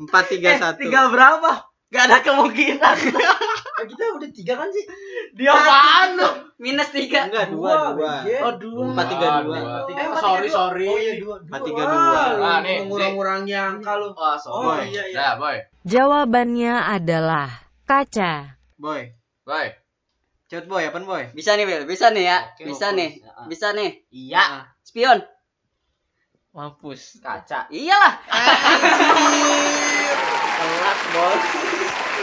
[SPEAKER 2] Empat tiga satu.
[SPEAKER 5] Tinggal berapa? Gak ada kemungkinan.
[SPEAKER 3] eh, kita udah tiga kan sih?
[SPEAKER 5] *laughs* Dia apaan lu?
[SPEAKER 7] Minus tiga.
[SPEAKER 2] Enggak dua dua.
[SPEAKER 3] iya. Oh, dua.
[SPEAKER 2] Empat tiga dua.
[SPEAKER 3] Eh, empat,
[SPEAKER 4] sorry
[SPEAKER 3] tiga, dua.
[SPEAKER 4] sorry
[SPEAKER 3] Oh iya, dua.
[SPEAKER 2] Empat
[SPEAKER 3] dua.
[SPEAKER 2] tiga
[SPEAKER 3] Wah,
[SPEAKER 2] dua.
[SPEAKER 3] lu
[SPEAKER 4] Nah, nih,
[SPEAKER 3] Mengurang-ngurangi angka lu.
[SPEAKER 4] Oh, sorry.
[SPEAKER 3] Oh, iya, iya.
[SPEAKER 4] Dah, boy.
[SPEAKER 6] Jawabannya adalah kaca.
[SPEAKER 2] Boy,
[SPEAKER 4] Boy.
[SPEAKER 2] cepet boy, apaan boy?
[SPEAKER 7] Bisa nih, Bil. Bisa nih ya.
[SPEAKER 4] Oke,
[SPEAKER 7] Bisa
[SPEAKER 4] fokus.
[SPEAKER 7] nih.
[SPEAKER 4] Ya.
[SPEAKER 7] Bisa nih.
[SPEAKER 4] Iya.
[SPEAKER 7] Spion.
[SPEAKER 2] Mampus.
[SPEAKER 4] Kaca.
[SPEAKER 7] Iyalah.
[SPEAKER 4] Kelas, bos.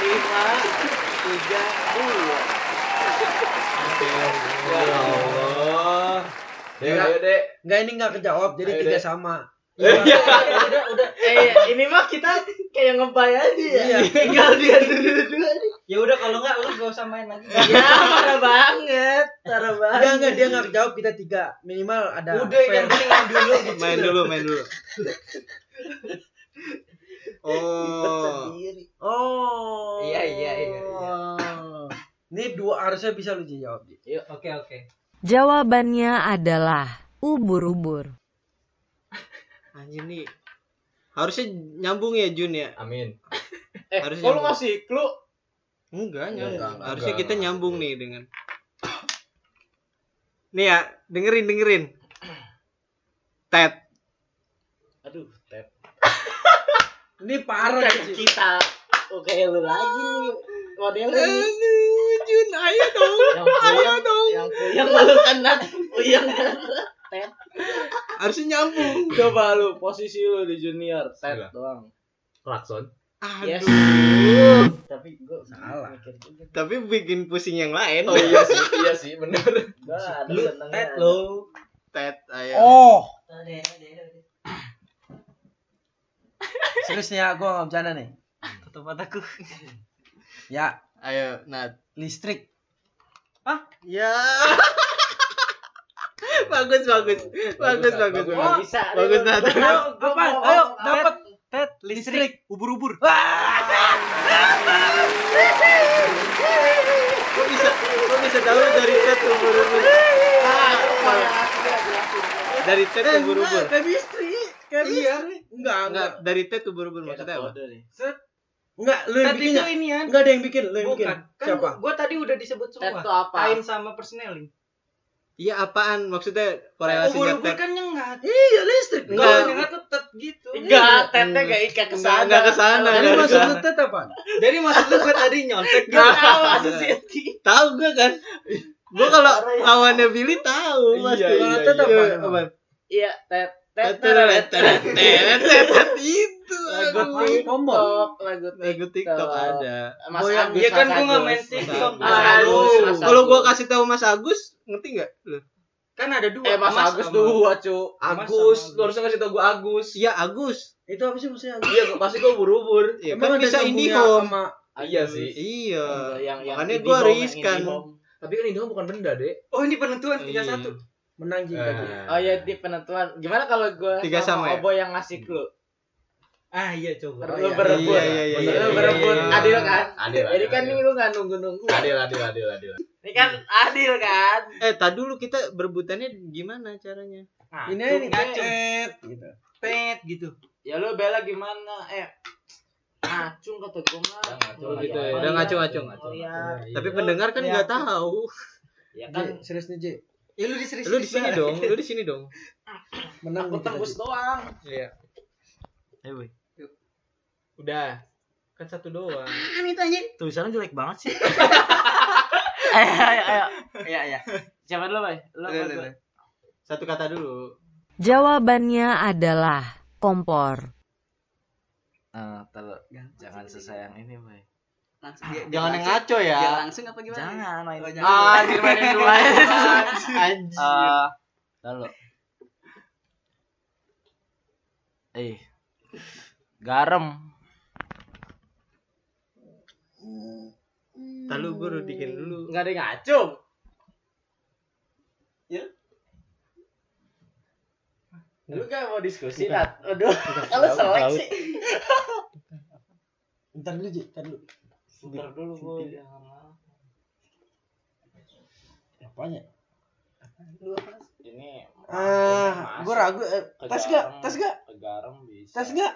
[SPEAKER 4] Lima. Tiga. Dua.
[SPEAKER 2] Ya Allah.
[SPEAKER 4] Dek, dek, Ya dek.
[SPEAKER 3] Enggak ini enggak kejawab, jadi
[SPEAKER 4] Ayo,
[SPEAKER 3] tiga
[SPEAKER 4] deh.
[SPEAKER 3] sama.
[SPEAKER 5] Udah, udah.
[SPEAKER 4] Eh, ini mah kita kayak ngebay aja ya.
[SPEAKER 3] Iya.
[SPEAKER 4] Tinggal dia dulu-dulu.
[SPEAKER 5] Ya udah kalau enggak lu gak usah main lagi.
[SPEAKER 4] Ya, parah banget. Parah
[SPEAKER 3] Enggak,
[SPEAKER 4] banget.
[SPEAKER 3] enggak dia enggak kejawab, kita tiga. Minimal ada
[SPEAKER 5] Udah
[SPEAKER 3] fair.
[SPEAKER 5] yang penting yang dulu gitu.
[SPEAKER 2] Main dulu, main dulu. *laughs* Oh.
[SPEAKER 3] Oh.
[SPEAKER 5] Iya, iya, iya, iya.
[SPEAKER 3] Ini dua harusnya bisa lu Ji, jawab. Ji.
[SPEAKER 5] Yuk, Iya, oke oke.
[SPEAKER 6] Jawabannya adalah ubur-ubur.
[SPEAKER 2] Anjir nih. Harusnya nyambung ya Jun ya?
[SPEAKER 4] Amin. Eh,
[SPEAKER 2] Harus
[SPEAKER 4] kok lu
[SPEAKER 2] nyambung.
[SPEAKER 4] ngasih clue?
[SPEAKER 2] Enggak, nyambung.
[SPEAKER 4] enggak, enggak,
[SPEAKER 2] Harusnya
[SPEAKER 4] enggak,
[SPEAKER 2] kita
[SPEAKER 4] enggak.
[SPEAKER 2] nyambung nih dengan Nih ya, dengerin, dengerin. Ted.
[SPEAKER 4] Aduh, tep.
[SPEAKER 3] Ini parah
[SPEAKER 4] Kayak
[SPEAKER 3] Ji.
[SPEAKER 4] kita. Oh, kayak lu lagi nih. Modelnya nih.
[SPEAKER 2] Aduh, Jun, ayo dong.
[SPEAKER 4] Yang puyeng,
[SPEAKER 2] dong.
[SPEAKER 4] yang Oh, puyeng malu kanan. Puyeng kanan. Tep.
[SPEAKER 2] Harusnya nyambung.
[SPEAKER 4] Coba lu posisi lu di junior, set doang. Klakson. Yes.
[SPEAKER 2] Aduh.
[SPEAKER 4] Tapi gua
[SPEAKER 3] Salah.
[SPEAKER 4] mikir juga.
[SPEAKER 2] Tapi bikin pusing yang lain.
[SPEAKER 4] Oh iya sih, iya sih, bener.
[SPEAKER 5] Gua ada
[SPEAKER 3] Lu
[SPEAKER 5] tentangnya.
[SPEAKER 3] tet lu.
[SPEAKER 2] Ted, ayo.
[SPEAKER 3] Oh.
[SPEAKER 4] Nah,
[SPEAKER 5] Ada, ada, ada.
[SPEAKER 3] Serius nih ya, gua enggak bercanda nih.
[SPEAKER 5] Tutup mataku.
[SPEAKER 3] Ya,
[SPEAKER 2] Ayo, Nat.
[SPEAKER 3] listrik.
[SPEAKER 2] Ya. *laughs* bagus, bagus. Bagus, bagus. Bagus,
[SPEAKER 4] Wah, bisa.
[SPEAKER 2] bagus Nat.
[SPEAKER 3] Apa? Ayo,
[SPEAKER 4] Nah,
[SPEAKER 3] dapat.
[SPEAKER 5] Tet, listrik.
[SPEAKER 3] Listrik, ubur-ubur.
[SPEAKER 2] Kok bisa, kok bisa tahu dari Ted ke ubur-ubur? Dari
[SPEAKER 3] Eh,
[SPEAKER 2] Ted ke ubur-ubur.
[SPEAKER 3] Chemistry,
[SPEAKER 5] Iya.
[SPEAKER 3] chemistry. Enggak,
[SPEAKER 2] Enggak,
[SPEAKER 3] enggak.
[SPEAKER 2] dari Ted ke ubur-ubur maksudnya apa?
[SPEAKER 3] Enggak, lu yang
[SPEAKER 5] Tet
[SPEAKER 3] bikin.
[SPEAKER 5] itu
[SPEAKER 3] nggak?
[SPEAKER 5] ini ya.
[SPEAKER 3] Enggak ada yang bikin, lu yang bikin.
[SPEAKER 5] Bukan. Kan
[SPEAKER 3] Siapa?
[SPEAKER 5] gua tadi udah disebut
[SPEAKER 4] Tet
[SPEAKER 5] semua.
[SPEAKER 4] tuh apa?
[SPEAKER 5] Kain sama persneling.
[SPEAKER 2] Iya, apaan? Maksudnya korelasinya
[SPEAKER 5] Ubur-ubur
[SPEAKER 2] Ted.
[SPEAKER 5] kan nyengat.
[SPEAKER 3] Iya, listrik.
[SPEAKER 5] Kalau
[SPEAKER 2] Ya, Enggak.
[SPEAKER 5] nyengat tuh tet gitu.
[SPEAKER 4] Enggak, tetnya gak ikat ke
[SPEAKER 2] Enggak,
[SPEAKER 4] sana.
[SPEAKER 2] enggak ke sana.
[SPEAKER 3] Jadi
[SPEAKER 2] enggak ke
[SPEAKER 3] maksud
[SPEAKER 2] sana.
[SPEAKER 3] lu tet apa?
[SPEAKER 5] Jadi maksud lu gua tadi nyontek gitu.
[SPEAKER 4] Gak tahu asosiasi.
[SPEAKER 2] Iya. Tahu gue kan? Gue kalau lawannya Billy tahu
[SPEAKER 4] Iya,
[SPEAKER 2] pasti.
[SPEAKER 4] iya,
[SPEAKER 2] Kalau Ted
[SPEAKER 3] iya.
[SPEAKER 2] apaan,
[SPEAKER 3] Iya.
[SPEAKER 2] apaan?
[SPEAKER 4] Iya, tet tet
[SPEAKER 2] Tet, tet, tet, tet, tet, tet, itu.
[SPEAKER 4] Lagu
[SPEAKER 2] aduh.
[SPEAKER 4] TikTok, lagu
[SPEAKER 2] Lagu Eh, TikTok ada.
[SPEAKER 4] Mas
[SPEAKER 3] Boy,
[SPEAKER 4] Agus,
[SPEAKER 5] Iya kan
[SPEAKER 4] Mas
[SPEAKER 5] gua nggak
[SPEAKER 4] Agus.
[SPEAKER 5] main TikTok.
[SPEAKER 4] Mas Agus, Mas
[SPEAKER 2] Kalau gua
[SPEAKER 4] Agus.
[SPEAKER 2] kasih tahu Mas Agus, ngerti nggak? Lu?
[SPEAKER 5] Kan ada dua.
[SPEAKER 4] Eh, Mas
[SPEAKER 5] emas
[SPEAKER 4] Agus
[SPEAKER 5] sama-
[SPEAKER 4] dua, cu.
[SPEAKER 5] Mas
[SPEAKER 4] Agus,
[SPEAKER 5] sama
[SPEAKER 4] lu harusnya ngasih tau gua Agus.
[SPEAKER 2] Iya Agus.
[SPEAKER 3] Itu apa sih maksudnya?
[SPEAKER 4] Iya, gua- pasti gua buru-buru.
[SPEAKER 2] Iya,
[SPEAKER 3] Emang
[SPEAKER 2] kan
[SPEAKER 3] ada
[SPEAKER 2] bisa
[SPEAKER 3] sambungnya
[SPEAKER 2] Indihome.
[SPEAKER 3] sama
[SPEAKER 4] Iya sih.
[SPEAKER 2] Iya.
[SPEAKER 4] Yang yang
[SPEAKER 2] Makanya
[SPEAKER 4] Indihome,
[SPEAKER 2] gua
[SPEAKER 4] yang
[SPEAKER 2] riskan.
[SPEAKER 4] Indihome. Tapi kan Indihome bukan benda, Dek.
[SPEAKER 5] Oh, ini penentuan
[SPEAKER 2] Iya.
[SPEAKER 5] 31.
[SPEAKER 2] Eh.
[SPEAKER 3] menang juga. Ji.
[SPEAKER 4] Oh iya di penentuan. Gimana kalau gua
[SPEAKER 2] Tiga sama ya?
[SPEAKER 4] Obo yang ngasih clue?
[SPEAKER 5] Ah, iya coba.
[SPEAKER 4] Lu
[SPEAKER 3] iya.
[SPEAKER 4] berebut.
[SPEAKER 2] Iya, iya, iya, iya,
[SPEAKER 4] Lu berebut.
[SPEAKER 2] iya.
[SPEAKER 4] Adil kan?
[SPEAKER 9] Adil,
[SPEAKER 4] Jadi
[SPEAKER 9] adil,
[SPEAKER 4] kan
[SPEAKER 9] adil.
[SPEAKER 4] ini lu enggak nunggu-nunggu.
[SPEAKER 9] adil adil adil adil
[SPEAKER 4] Ini kan adil kan?
[SPEAKER 2] Eh, tadi dulu kita berebutannya gimana caranya?
[SPEAKER 3] Ini
[SPEAKER 5] Ngacung,
[SPEAKER 3] ini
[SPEAKER 5] ngacung.
[SPEAKER 4] Eh.
[SPEAKER 3] tet gitu.
[SPEAKER 5] Pet gitu.
[SPEAKER 4] Ya lu bela gimana? Eh acung kata gua mah.
[SPEAKER 9] ngacung
[SPEAKER 1] Oh,
[SPEAKER 9] gitu ya.
[SPEAKER 1] Iya.
[SPEAKER 2] Udah ngacung-ngacung.
[SPEAKER 3] Iya,
[SPEAKER 5] iya,
[SPEAKER 3] Ah,
[SPEAKER 4] Ngeliat.
[SPEAKER 2] Tapi pendengar kan nggak tahu.
[SPEAKER 4] Ya
[SPEAKER 3] Ji,
[SPEAKER 4] kan
[SPEAKER 3] serius nih, Ji.
[SPEAKER 5] Ya iya, lu diserius.
[SPEAKER 2] Lu di sini dong, lu di sini dong.
[SPEAKER 3] Menang
[SPEAKER 4] aku
[SPEAKER 3] kita, Ji.
[SPEAKER 4] tembus doang.
[SPEAKER 2] Iya. Ayo, Boy.
[SPEAKER 5] Udah. Kan satu
[SPEAKER 1] *laughs*
[SPEAKER 5] doang.
[SPEAKER 7] Apaan itu anjing?
[SPEAKER 5] Tulisannya jelek banget sih.
[SPEAKER 4] Ayo ayo ayo.
[SPEAKER 5] Iya, iya.
[SPEAKER 4] Siapa dulu, Bay? Lu
[SPEAKER 2] Udah,
[SPEAKER 4] apa
[SPEAKER 2] udah,
[SPEAKER 4] gua?
[SPEAKER 2] udah. Satu kata dulu.
[SPEAKER 6] Jawabannya adalah kompor.
[SPEAKER 4] Eh, taruh. Jangan sesayang ini, Bay.
[SPEAKER 7] Langsung.
[SPEAKER 2] Jangan
[SPEAKER 7] langsung.
[SPEAKER 2] yang ngaco ya. Ah,
[SPEAKER 7] Ya langsung apa gimana?
[SPEAKER 2] *laughs*
[SPEAKER 4] Jangan main.
[SPEAKER 5] Oh, jangan.
[SPEAKER 4] Ah, anjir mainin dua.
[SPEAKER 2] Anjir.
[SPEAKER 4] Eh,
[SPEAKER 10] Lalu. Eh. Garam.
[SPEAKER 2] Lalu gue rudikin dulu.
[SPEAKER 4] Enggak ada yang ngacung. Ya. Lu gak mau diskusi, Nat? Aduh, kalau seleksi.
[SPEAKER 3] Bentar dulu, Ji. Bentar dulu.
[SPEAKER 4] Bentar dulu, Boy. Jangan lama.
[SPEAKER 3] Apanya?
[SPEAKER 4] Lu apa?
[SPEAKER 1] Ini
[SPEAKER 3] Ah, gue ragu. eh, tes gak? Tes gak?
[SPEAKER 1] garam bisa.
[SPEAKER 3] Tes gak?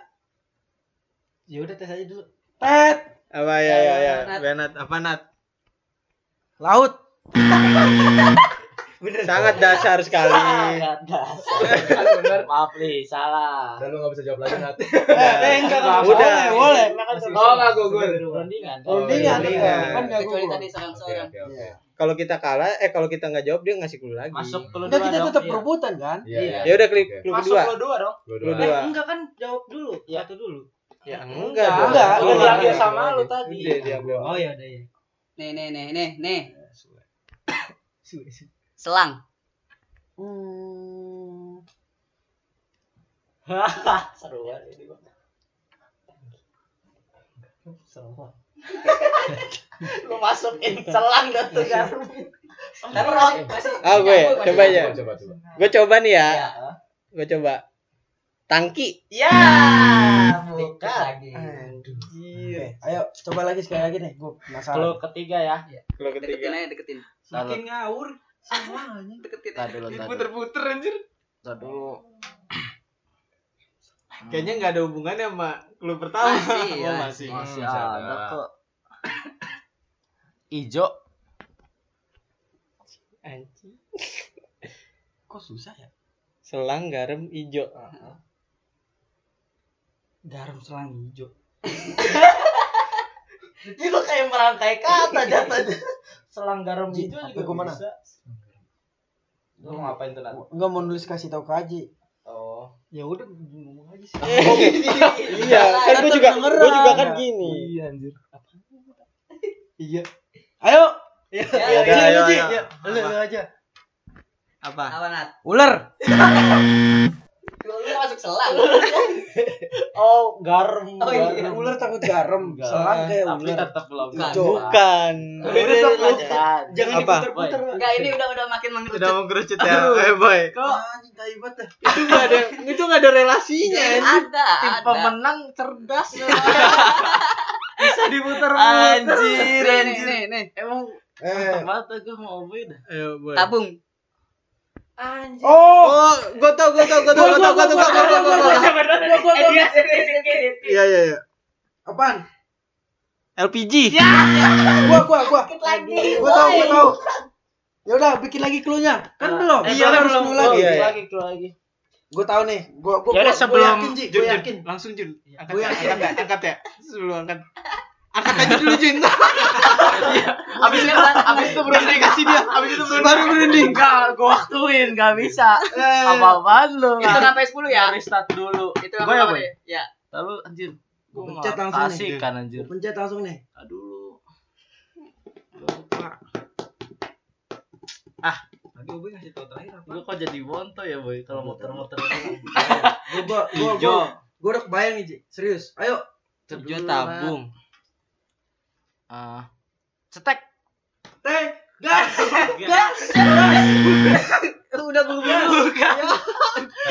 [SPEAKER 4] Ya udah tes aja dulu.
[SPEAKER 3] Tet.
[SPEAKER 2] Apa ya ya ya. Benat apa Nat?
[SPEAKER 3] Laut.
[SPEAKER 2] Sangat dasar sekali.
[SPEAKER 4] Enggak dasar. Maaf nih, salah.
[SPEAKER 1] Dan lu gak bisa jawab lagi, Nat.
[SPEAKER 3] Eh, enggak
[SPEAKER 2] Udah.
[SPEAKER 3] boleh, boleh.
[SPEAKER 1] Oh, enggak gugur.
[SPEAKER 4] Perundingan.
[SPEAKER 1] Oh,
[SPEAKER 3] Rundingan,
[SPEAKER 2] iya.
[SPEAKER 3] rundingan. kan enggak
[SPEAKER 11] kecuali
[SPEAKER 3] gugur.
[SPEAKER 11] tadi seorang
[SPEAKER 1] Oke,
[SPEAKER 11] seorang
[SPEAKER 1] oke, oke.
[SPEAKER 2] Kalau kita kalah, eh kalau kita nggak jawab dia ngasih clue lagi.
[SPEAKER 10] Masuk ke lu
[SPEAKER 3] Enggak
[SPEAKER 10] dua
[SPEAKER 3] kita
[SPEAKER 10] dong.
[SPEAKER 3] tetap
[SPEAKER 10] Iya.
[SPEAKER 3] perebutan kan?
[SPEAKER 1] Iya.
[SPEAKER 2] Ya udah klik
[SPEAKER 1] Oke.
[SPEAKER 2] clue
[SPEAKER 10] Masuk
[SPEAKER 2] kedua.
[SPEAKER 10] ke lu dua dong.
[SPEAKER 2] Lu
[SPEAKER 1] Dua-dua.
[SPEAKER 2] dua.
[SPEAKER 4] Enggak kan jawab dulu.
[SPEAKER 3] Iya.
[SPEAKER 4] Satu dulu.
[SPEAKER 2] Ya enggak dong.
[SPEAKER 3] Enggak,
[SPEAKER 2] Lu
[SPEAKER 3] udah
[SPEAKER 2] doang.
[SPEAKER 3] diambil
[SPEAKER 10] sama lu tadi.
[SPEAKER 2] Udah diambil.
[SPEAKER 4] Oh ya udah ya.
[SPEAKER 11] nih nih nih nih nih
[SPEAKER 4] Suwe, suwe.
[SPEAKER 11] selang
[SPEAKER 3] Hmm.
[SPEAKER 4] Seru banget ini, Bang. Seru banget. Lu masukin selang dan tuh *laughs* garam. Semprot.
[SPEAKER 2] Ah gue, coba aja.
[SPEAKER 1] Coba, coba.
[SPEAKER 2] Gue coba nih ya.
[SPEAKER 4] Ya.
[SPEAKER 2] Gue coba. Tangki.
[SPEAKER 4] Ya, bukan lagi.
[SPEAKER 3] Oke, Iya. ayo coba lagi sekali lagi nih. Gue penasaran.
[SPEAKER 10] Lu ketiga ya.
[SPEAKER 2] Clue
[SPEAKER 11] Iya. deketin
[SPEAKER 2] ketiga.
[SPEAKER 11] aja deketin
[SPEAKER 10] Lalu.
[SPEAKER 3] ngawur semuanya.
[SPEAKER 11] deketin
[SPEAKER 10] Tadi dulu, tadi dulu.
[SPEAKER 2] Puter-puter anjir.
[SPEAKER 10] Tar dulu.
[SPEAKER 2] Kayaknya nggak ada hubungannya sama clue
[SPEAKER 4] Ah,
[SPEAKER 2] pertama.
[SPEAKER 11] Masih,
[SPEAKER 2] Oh,
[SPEAKER 11] ya.
[SPEAKER 2] masih.
[SPEAKER 10] Masih
[SPEAKER 1] Iya, masih ada.
[SPEAKER 10] ada kok. Ijo.
[SPEAKER 2] Anjing.
[SPEAKER 3] *laughs* Kok susah ya?
[SPEAKER 2] Selang garam ijo.
[SPEAKER 3] Garam selang hijau.
[SPEAKER 4] Ini lu kayak merangkai kata jatuhnya. Selang garam
[SPEAKER 3] Ji,
[SPEAKER 4] hijau juga
[SPEAKER 3] HP gua mana?
[SPEAKER 4] bisa. Lu mau ngapain tuh, Nat?
[SPEAKER 3] Enggak mau nulis kasih tahu ke Haji.
[SPEAKER 4] Oh.
[SPEAKER 3] Ya udah ngomong aja sih.
[SPEAKER 4] *laughs*
[SPEAKER 2] Iya, kan gue juga gue juga kan gini.
[SPEAKER 3] Iya anjir. Iya. Ayo. Ya,
[SPEAKER 2] ya,
[SPEAKER 3] ya,
[SPEAKER 2] ayo,
[SPEAKER 3] Ji.
[SPEAKER 2] ayo.
[SPEAKER 3] Ya, lu lu aja.
[SPEAKER 2] Apa?
[SPEAKER 11] apa nat
[SPEAKER 3] Ular.
[SPEAKER 11] lu lu masuk selang
[SPEAKER 4] Oh, garam.
[SPEAKER 11] Oh, iya.
[SPEAKER 4] garam.
[SPEAKER 3] Ular takut garam.
[SPEAKER 4] Enggak.
[SPEAKER 3] Selang kayak
[SPEAKER 10] Tapi
[SPEAKER 3] ular.
[SPEAKER 10] tetap belum.
[SPEAKER 11] Bukan.
[SPEAKER 2] Bukan.
[SPEAKER 3] Udah,
[SPEAKER 2] Udah,
[SPEAKER 3] udah,
[SPEAKER 2] udah.
[SPEAKER 10] Bukan.
[SPEAKER 3] Jangan
[SPEAKER 2] Apa?
[SPEAKER 3] diputer-puter.
[SPEAKER 11] enggak ini udah udah makin
[SPEAKER 2] Udah
[SPEAKER 11] mengerucut
[SPEAKER 2] mau kerucut ya. Eh boy.
[SPEAKER 3] Kok anjing tai banget dah.
[SPEAKER 2] Itu nggak ada itu nggak ada relasinya. anjing.
[SPEAKER 11] Iya, ada
[SPEAKER 4] Tim
[SPEAKER 11] ada Iya,
[SPEAKER 4] pemenang cerdas. bisa diputer
[SPEAKER 2] Anjir,
[SPEAKER 11] nih nih
[SPEAKER 2] anjir.
[SPEAKER 11] nih nih
[SPEAKER 4] *laughs* Emang
[SPEAKER 3] Eh.
[SPEAKER 4] mata gue mau oboy dah. Eh,
[SPEAKER 2] Ayo boy.
[SPEAKER 11] tabung
[SPEAKER 4] Anjir.
[SPEAKER 3] Oh,
[SPEAKER 2] Oh, gue tau, gue tau, gue tau, gue tau, gue tau, gue tau, gue tau.
[SPEAKER 4] Eh, dia
[SPEAKER 2] Iya, iya, iya.
[SPEAKER 3] apaan?
[SPEAKER 2] LPG.
[SPEAKER 3] Gua gua gua.
[SPEAKER 11] lagi
[SPEAKER 3] Gua tahu, gua tahu. Ya udah, bikin lagi clue-nya. Kan belum.
[SPEAKER 11] Eh,
[SPEAKER 2] Iya,
[SPEAKER 3] Kan
[SPEAKER 2] kan
[SPEAKER 3] harus
[SPEAKER 2] belum.
[SPEAKER 3] clue lagi.
[SPEAKER 2] Iya, iya.
[SPEAKER 4] lagi keluar lagi.
[SPEAKER 3] Gue tahu nih. Gue gue
[SPEAKER 2] Ya udah sebelum
[SPEAKER 3] yakin, Ji.
[SPEAKER 2] Jun,
[SPEAKER 3] Gue
[SPEAKER 2] Jun.
[SPEAKER 3] yakin.
[SPEAKER 2] langsung Jun. Angkat
[SPEAKER 3] Gua
[SPEAKER 2] ya,
[SPEAKER 3] yakin.
[SPEAKER 2] angkat ya, angkat ya. Sebelum angkat. Angkat aja dulu *laughs* Jun.
[SPEAKER 4] Abis itu abis itu berunding kasih dia. Abis itu berunding. Baru berunding. Enggak, gua waktuin, enggak bisa.
[SPEAKER 2] Eh.
[SPEAKER 4] Apa-apaan lu?
[SPEAKER 11] itu sampai 10 ya
[SPEAKER 4] restart dulu.
[SPEAKER 11] itu
[SPEAKER 4] Gua ya,
[SPEAKER 11] apa
[SPEAKER 4] Boy?
[SPEAKER 11] deh ya
[SPEAKER 4] Lalu anjir.
[SPEAKER 3] Gua
[SPEAKER 4] Gua
[SPEAKER 3] pencet langsung nih.
[SPEAKER 4] Asik kan anjir.
[SPEAKER 3] Gua pencet langsung nih.
[SPEAKER 4] Aduh.
[SPEAKER 2] Aduh, gue ngasih tau terakhir apa?
[SPEAKER 4] Lu kok jadi bonto ya, Boy? Kalau muter-muter.
[SPEAKER 3] Gue gua gua
[SPEAKER 2] Ijo.
[SPEAKER 3] gua- gua udah kebayang nih, Ji. Serius. Ayo.
[SPEAKER 2] Ijo tabung.
[SPEAKER 4] Ah. Cetek.
[SPEAKER 3] Teh, gas. Gas. *laughs*
[SPEAKER 11] udah
[SPEAKER 2] Ya,
[SPEAKER 11] buru-buru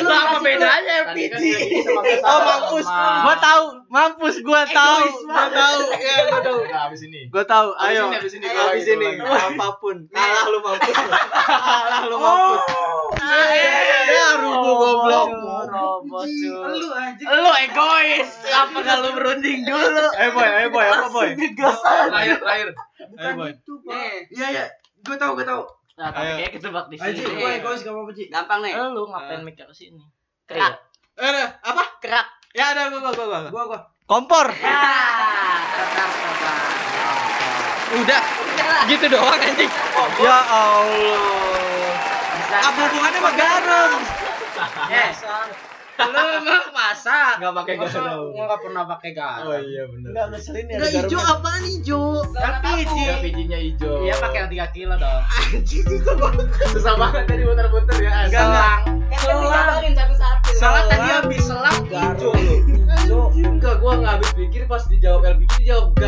[SPEAKER 4] Lu apa bedanya
[SPEAKER 10] kan
[SPEAKER 4] MPG?
[SPEAKER 10] dia bisa pakai
[SPEAKER 2] Oh,
[SPEAKER 10] salah,
[SPEAKER 2] mampus.
[SPEAKER 10] sama-
[SPEAKER 2] Gue tahu, mampus gue tahu. Gue tahu. Iya, gue tahu.
[SPEAKER 1] Udah habis ini.
[SPEAKER 2] Gue tahu. Ayo.
[SPEAKER 1] Habis ini,
[SPEAKER 2] Habis ini apapun. Oh. Kalah lu *laughs* mampus. Kalah lu mampus. Ya, rubuh goblok.
[SPEAKER 4] Robot, cuy.
[SPEAKER 3] Lu aja.
[SPEAKER 4] Lu egois. Apa gak lu berunding dulu?
[SPEAKER 2] Eh boy, eh boy, apa boy?
[SPEAKER 1] Terakhir, terakhir.
[SPEAKER 2] Eh boy.
[SPEAKER 11] nih
[SPEAKER 3] Iya, iya. Gue tahu, gue tahu.
[SPEAKER 4] Nah,
[SPEAKER 2] Ayo.
[SPEAKER 4] tapi kayak ketebak di
[SPEAKER 3] Aji,
[SPEAKER 4] sini.
[SPEAKER 3] gue egois gak apa-apa, Ji.
[SPEAKER 11] gampang nih
[SPEAKER 4] Eh, Lu ngapain mic ke sini?
[SPEAKER 11] Kerak.
[SPEAKER 2] Eh, ada, apa?
[SPEAKER 11] kerak
[SPEAKER 2] Ya ada gua gua gua. gua.
[SPEAKER 3] Gua gua.
[SPEAKER 2] Kompor. Udah. Gitu doang anjing. Ya Allah. Apa hubungannya sama garam?
[SPEAKER 11] Yes. Lu mah
[SPEAKER 3] masak.
[SPEAKER 12] Nggak pakai
[SPEAKER 3] Masa
[SPEAKER 12] garam.
[SPEAKER 3] gua nggak pernah pakai garam.
[SPEAKER 1] Oh iya benar.
[SPEAKER 12] Enggak ngeselin ya.
[SPEAKER 2] Enggak hijau apaan hijau?
[SPEAKER 3] Kan biji.
[SPEAKER 1] Enggak bijinya hijau.
[SPEAKER 3] Iya pakai yang 3 kilo dong.
[SPEAKER 2] Anjing itu gua.
[SPEAKER 1] susah banget tadi muter-muter ya.
[SPEAKER 12] Enggak, enggak.
[SPEAKER 3] Selang.
[SPEAKER 4] digambarin satu-satu.
[SPEAKER 3] Salah tadi habis selang hijau.
[SPEAKER 1] Enggak, gua nggak habis pikir pas dijawab LPG dijawab